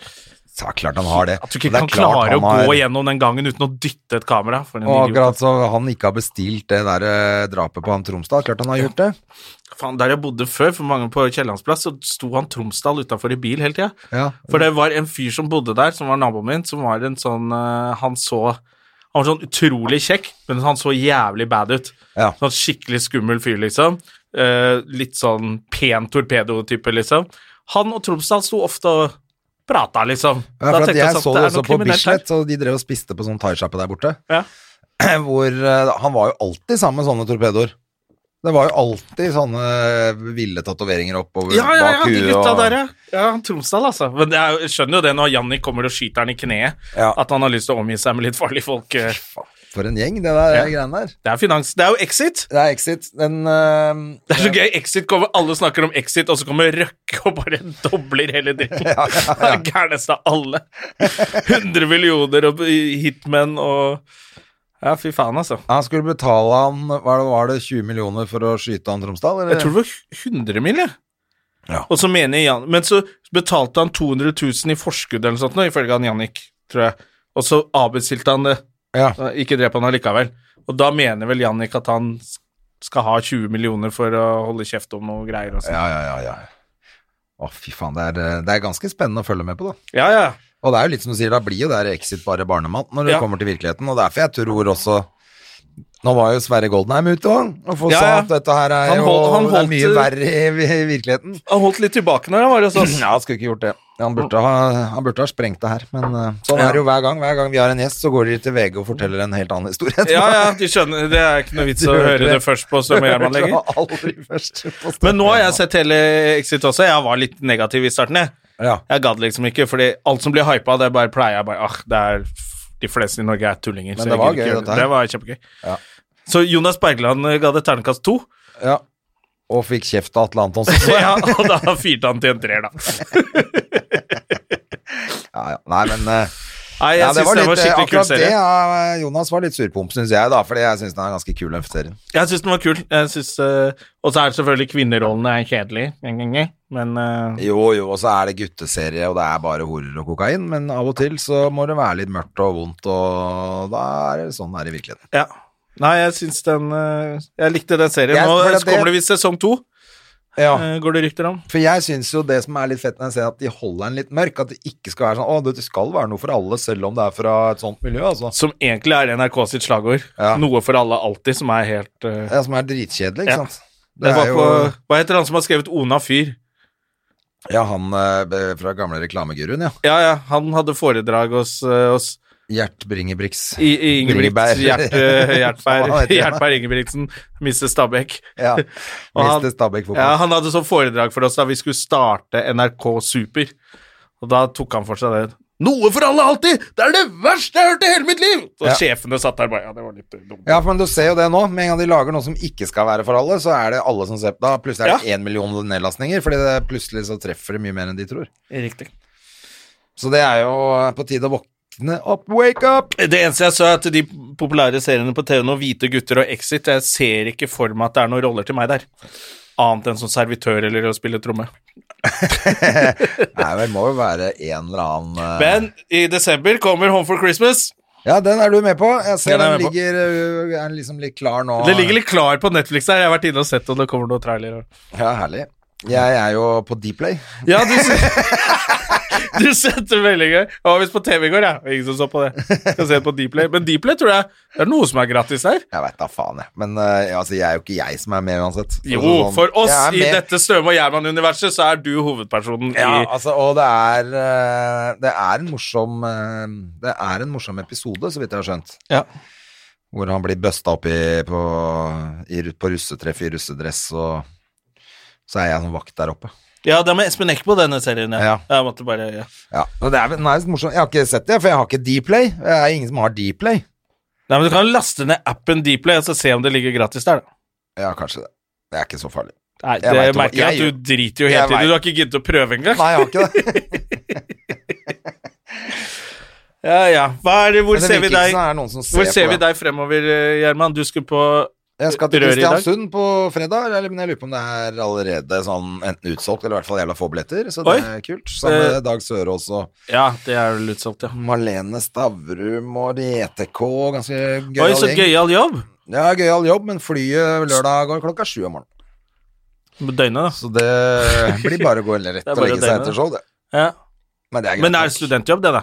S2: Så er det klart han har det.
S1: At du ikke
S2: Men det er
S1: kan
S2: klart
S1: klare å
S2: han har-
S1: gå gjennom den gangen uten å dytte et kamera. For en
S2: Og
S1: idiot.
S2: akkurat som han ikke har bestilt det der eh, drapet på han Tromsdal, klart han har gjort det.
S1: Faen, der jeg bodde før, for mange på Kiellandsplass, så sto han Tromsdal utafor i bil hele tida.
S2: Ja.
S1: For det var en fyr som bodde der, som var naboen min, som var en sånn eh, Han så Han var sånn utrolig kjekk, men han så jævlig bad ut.
S2: Ja.
S1: Sånn skikkelig skummel fyr, liksom. Eh, litt sånn pen torpedo-type, liksom. Han og Tromsdal sto ofte og prata, liksom.
S2: Ja, for
S1: Da
S2: at
S1: tenkte
S2: jeg
S1: sånn,
S2: så
S1: er
S2: det
S1: noe
S2: også på
S1: kriminelt her.
S2: Bislett, og de drev og spiste på sånn thaisjappe der borte.
S1: Ja.
S2: Hvor eh, han var jo alltid sammen med sånne torpedoer. Det var jo alltid sånne eh, ville tatoveringer oppover
S1: Ja, ja, ja,
S2: bak
S1: de
S2: huet.
S1: gutta
S2: og-
S1: der, ja. ja. han Tromsdal, altså. Men jeg er- jeg skjønner jo det når Jannik kommer og skyter han i kneet,
S2: Ja.
S1: at han har lyst til å omgi seg med litt farlige folk. eh.
S2: For en gjeng, det der
S1: Ja.
S2: greiene der.
S1: Det er finans. Det er jo Exit.
S2: Det er Exit. Den eh,
S1: Det er så gøy. Exit kommer, Alle snakker om Exit, og så kommer Røkke og bare dobler hele dritten. Det er gærneste av alle. 100 millioner og hitmen og Ja, fy faen, altså.
S2: Han skulle betale han var det, var det 20 millioner for å skyte han Tromsdal? Eller?
S1: Jeg tror det var 100 mill., jeg.
S2: Ja.
S1: Og så mener Jan Men så betalte han 200 000 i forskudd eller noe sånt, nå, ifølge han Jannik, tror jeg. Og så avbestilte han det.
S2: Ja.
S1: Da Ikke drep han allikevel. Og da mener vel Jannik at han s- skal ha 20 millioner for å holde kjeft om noe greier og sånn.
S2: Ja, ja, ja, ja. Å, fy faen. Det er, eh, det er ganske spennende å følge med på, da.
S1: Ja, ja.
S2: Og det er jo litt som du sier, da blir jo der Exit bare barnemat når det
S1: Ja.
S2: kommer til virkeligheten, og derfor jeg tror også Nå var jo Sverre Goldenheim ute òg, og folk
S1: Ja,
S2: sa
S1: ja.
S2: at dette her er
S1: Han holdt- han
S2: jo det er mye
S1: holdt-
S2: verre i, i virkeligheten.
S1: Han holdt litt tilbake når han var hos oss.
S2: Ja, han skulle ikke gjort det. Han burde ha, han burde ha sprengt det her, men eh, sånn er det jo hver gang. Hver gang vi har en gjest, så går de til VG og forteller en helt annen historie.
S1: Ja, ja, de skjønner. Det er ikke noe vits å
S2: Du hørte
S1: høre det
S2: det.
S1: først på Strømøyermann
S2: Det
S1: lenger.
S2: var aldri først på
S1: Men nå har jeg sett hele Exit også. Jeg var litt negativ i starten, jeg.
S2: Ja.
S1: Jeg gadd liksom ikke, fordi alt som blir hypa, det bare pleier jeg bare Ah, det er De fleste i Norge er tullinger. så
S2: det
S1: jeg
S2: var
S1: gidder
S2: gøy,
S1: ikke gjøre
S2: dette her.
S1: Det Det var kjempegøy.
S2: Ja.
S1: Så Jonas Bergland eh, ga det terningkast to.
S2: ja. Og fikk kjeft av Atle Antonsen.
S1: Ja, og da fyrte han til en treer, da.
S2: Ja, ja. Nei, men eh,
S1: Nei, jeg
S2: ja,
S1: synes syns det
S2: eh,
S1: var skikkelig kul
S2: akkurat det,
S1: serie.
S2: ja, Jonas var litt surpomp, syns jeg, da, fordi jeg syns den er ganske kul, den serien.
S1: Jeg syns den var kul. Jeg synes, eh, og så er det selvfølgelig kvinnerollene er kjedelige, men eh,
S2: Jo, jo, og så er det gutteserie, og det er bare horer og kokain, men av og til så må det være litt mørkt og vondt, og da er det sånn det er i virkeligheten.
S1: Ja. Nei, jeg syns den eh, Jeg likte den serien.
S2: Jeg-
S1: Nå
S2: for det-
S1: kommer det visst sesong to,
S2: Ja.
S1: eh, går det rykter om.
S2: For jeg syns jo det som er litt fett når jeg ser at de holder den litt mørk, at det ikke skal være sånn Å, det skal være noe for alle, selv om det er fra et sånt miljø, altså.
S1: Som egentlig er NRK sitt slagord.
S2: Ja.
S1: Noe for alle alltid, som er helt eh,
S2: Det som er dritkjedelig, ikke
S1: Ja.
S2: sant.
S1: det
S2: Det
S1: var
S2: er jo
S1: på, Hva heter han som har skrevet Ona Fyr?
S2: Ja, han eh, fra gamle reklameguruen, ja.
S1: Ja, ja, han hadde foredrag hos, eh, hos
S2: Gjert Bringebriks.
S1: I, i
S2: Bringebær.
S1: Ingebrigt, Gjert, eh, Hjertberg,
S2: Hva heter han da?
S1: Hjertberg Ingebrigtsen, Mr. Stabæk.
S2: Ja.
S1: Og han-
S2: Mr. Stabæk fotball.
S1: Ja, han hadde sånn foredrag for oss da vi skulle starte NRK Super. Og da tok han for seg det. Noe for alle alltid! Det er det verste jeg har hørt i hele mitt liv! Og
S2: Ja.
S1: sjefene satt der bare Ja, det var litt eh, dumt.
S2: Ja, men du ser jo det nå. Med en gang de lager noe som ikke skal være for alle, så er det alle som ser på. Da plutselig er det én million nedlastninger, fordi det plutselig så treffer det mye mer enn de tror.
S1: Riktig.
S2: Så det er jo eh, på tide å våkne opp. Wake up!
S1: Det eneste jeg så, er at de populære seriene på TV nå, Hvite gutter og Exit, jeg ser ikke for meg at det er noen roller til meg der. Annet enn som servitør eller å spille tromme.
S2: Nei, men det må jo være en eller annen eh,
S1: Men i desember kommer Home for Christmas.
S2: Ja, den er du med på. Jeg ser
S1: Den
S2: den,
S1: er jeg med på.
S2: ligger eh, er liksom litt klar nå.
S1: Det ligger litt klar på Netflix her. Jeg har vært inne og sett om det kommer noen trailer.
S2: Ja, herlig. Jeg er jo på Dplay.
S1: Ja, du, s- du sendte meldinger. Jeg var visst på TV i går, jeg. Ja. Ingen som så på det. Skal se på Dplay. Men Dplay tror jeg det er noe som er gratis der.
S2: Jeg veit da faen, jeg. Men eh, altså, jeg er jo ikke jeg som er med uansett.
S1: Jo,
S2: Altså, sånn-
S1: for oss
S2: Jeg er
S1: i
S2: med.
S1: dette Støme og Gjerman-universet, så er du hovedpersonen
S2: Ja,
S1: i
S2: altså, og det er, eh, det er en morsom eh, Det er en morsom episode, så vidt jeg har skjønt.
S1: Ja.
S2: Hvor han blir busta opp i, på, i, ru- på russetreff i russedress, og så er jeg som vakt der oppe.
S1: Ja, det er med Espen Eckbo, denne serien. Ja.
S2: Ja.
S1: Jeg måtte bare ja.
S2: Ja, og det er, den er litt morsom. Jeg har ikke sett det, for jeg har ikke Dplay. Det er ingen som har Dplay.
S1: Nei, men Du kan laste ned appen Dplay og så se om det ligger gratis der. da.
S2: Ja, kanskje det. Det er ikke så farlig.
S1: Nei,
S2: Jeg
S1: det
S2: vet hva-
S1: merker jeg at
S2: jeg
S1: du driter jo
S2: Jeg
S1: helt i det.
S2: vet.
S1: Du har ikke giddet å prøve engang.
S2: Nei, jeg har ikke det.
S1: Ja, ja. Hva er det, hvor
S2: Men det
S1: ser vi deg?
S2: viktigste er noen som ser
S1: Hvor ser
S2: på
S1: vi
S2: det.
S1: deg fremover, eh, Gjerman? Du skulle på
S2: Jeg skal til
S1: Rør i dag?
S2: Kristiansund på fredag, eller, men jeg lurer på om det er allerede sånn enten utsolgt eller i hvert fall jævla få billetter, så det
S1: Oi.
S2: er kult. Sammen med
S1: Eh.
S2: Dag Sørås og
S1: Ja, det er vel utsolgt, ja.
S2: Malene Stavrum og JTK, ganske
S1: Oi,
S2: gøyal
S1: så
S2: gjeng.
S1: gøyal jobb!
S2: Ja, gøyal jobb, men flyet lørdag går klokka sju om morgenen.
S1: På Døgnet, da.
S2: Så det blir bare å gå rett
S1: Det er
S2: og
S1: bare
S2: legge
S1: å
S2: seg
S1: døgne.
S2: etter show, det.
S1: Ja.
S2: Men det er greit.
S1: Men det er
S2: nok.
S1: studentjobb, det, da.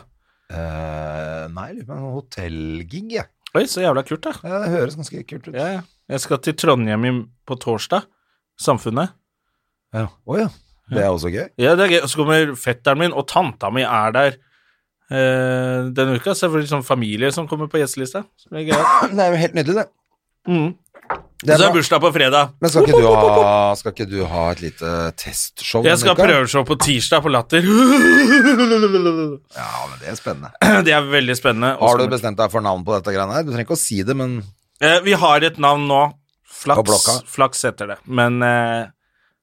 S2: Eh, nei, jeg lurer på en hotellgig, jeg.
S1: Oi, så jævla kult, da.
S2: Ja, det høres ganske kult ut.
S1: Ja, ja. Jeg skal til Trondheim i- på torsdag. Samfunnet.
S2: Ja. Å ja. Det er også gøy.
S1: Ja, det er gøy. Og så kommer fetteren min, og tanta mi er der eh, denne uka. Så det blir sånn familie som kommer på gjestelista. Så det er gøy.
S2: Det er jo helt nydelig, det.
S1: Mm.
S2: det
S1: Og så
S2: er
S1: er
S2: bra.
S1: bursdag på fredag.
S2: Men skal ikke, du ha, skal ikke du ha et lite testshow? denne
S1: Jeg skal
S2: uka?
S1: ha prøveshow på tirsdag på Latter.
S2: Ja, men det er spennende.
S1: Det er veldig spennende. Og
S2: Har du
S1: så-
S2: bestemt deg for navn på dette greiene her? Du trenger ikke å si det, men
S1: Eh, Vi har et navn nå.
S2: På blokka.
S1: Flaks, flaks heter det. Men eh,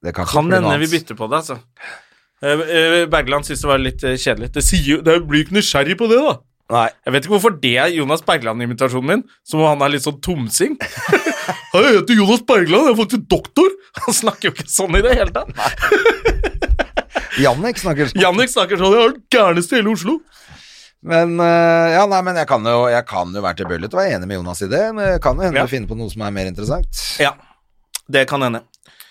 S2: det kan,
S1: kan
S2: ikke bli noe
S1: hende vi
S2: annet.
S1: bytter på det, altså. Eh, eh, Bergland syntes det var litt eh, kjedelig. Det, sier jo, det blir ikke nysgjerrig på det, da.
S2: Nei.
S1: Jeg vet ikke hvorfor det er Jonas Bergland-invitasjonen min, som om han er litt sånn tomsing. Hei, jeg heter Jonas Bergland, jeg er faktisk doktor. Han snakker jo ikke sånn i det hele tatt.
S2: Jannik snakker sånn.
S1: Jannik snakker sånn, jeg er den gærneste i hele Oslo.
S2: Men, eh, ja, nei, men jeg kan jo, jeg kan jo være tilbøyelig til å være enig med Jonas i det. Men det kan jo hende
S1: Ja.
S2: du finner på noe som er mer interessant.
S1: Ja, det kan hende.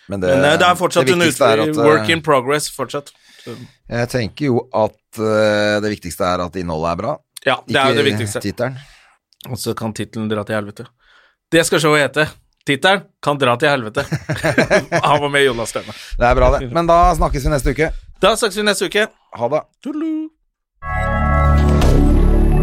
S2: Men
S1: Men eh, det er fortsatt
S2: det
S1: en
S2: viktigste er
S1: utfordring.
S2: at, eh,
S1: Work in progress, fortsatt.
S2: Jeg tenker jo at eh, det viktigste er at innholdet er bra.
S1: Ja, det er jo det viktigste.
S2: tittelen.
S1: Og så kan tittelen dra til helvete. Det skal showet hete. Tittelen kan dra til helvete. Han var med i Jonas Stemme.
S2: Det er bra, det. Men da snakkes vi neste uke.
S1: Da snakkes vi neste uke.
S2: Ha det.
S1: Tudelu.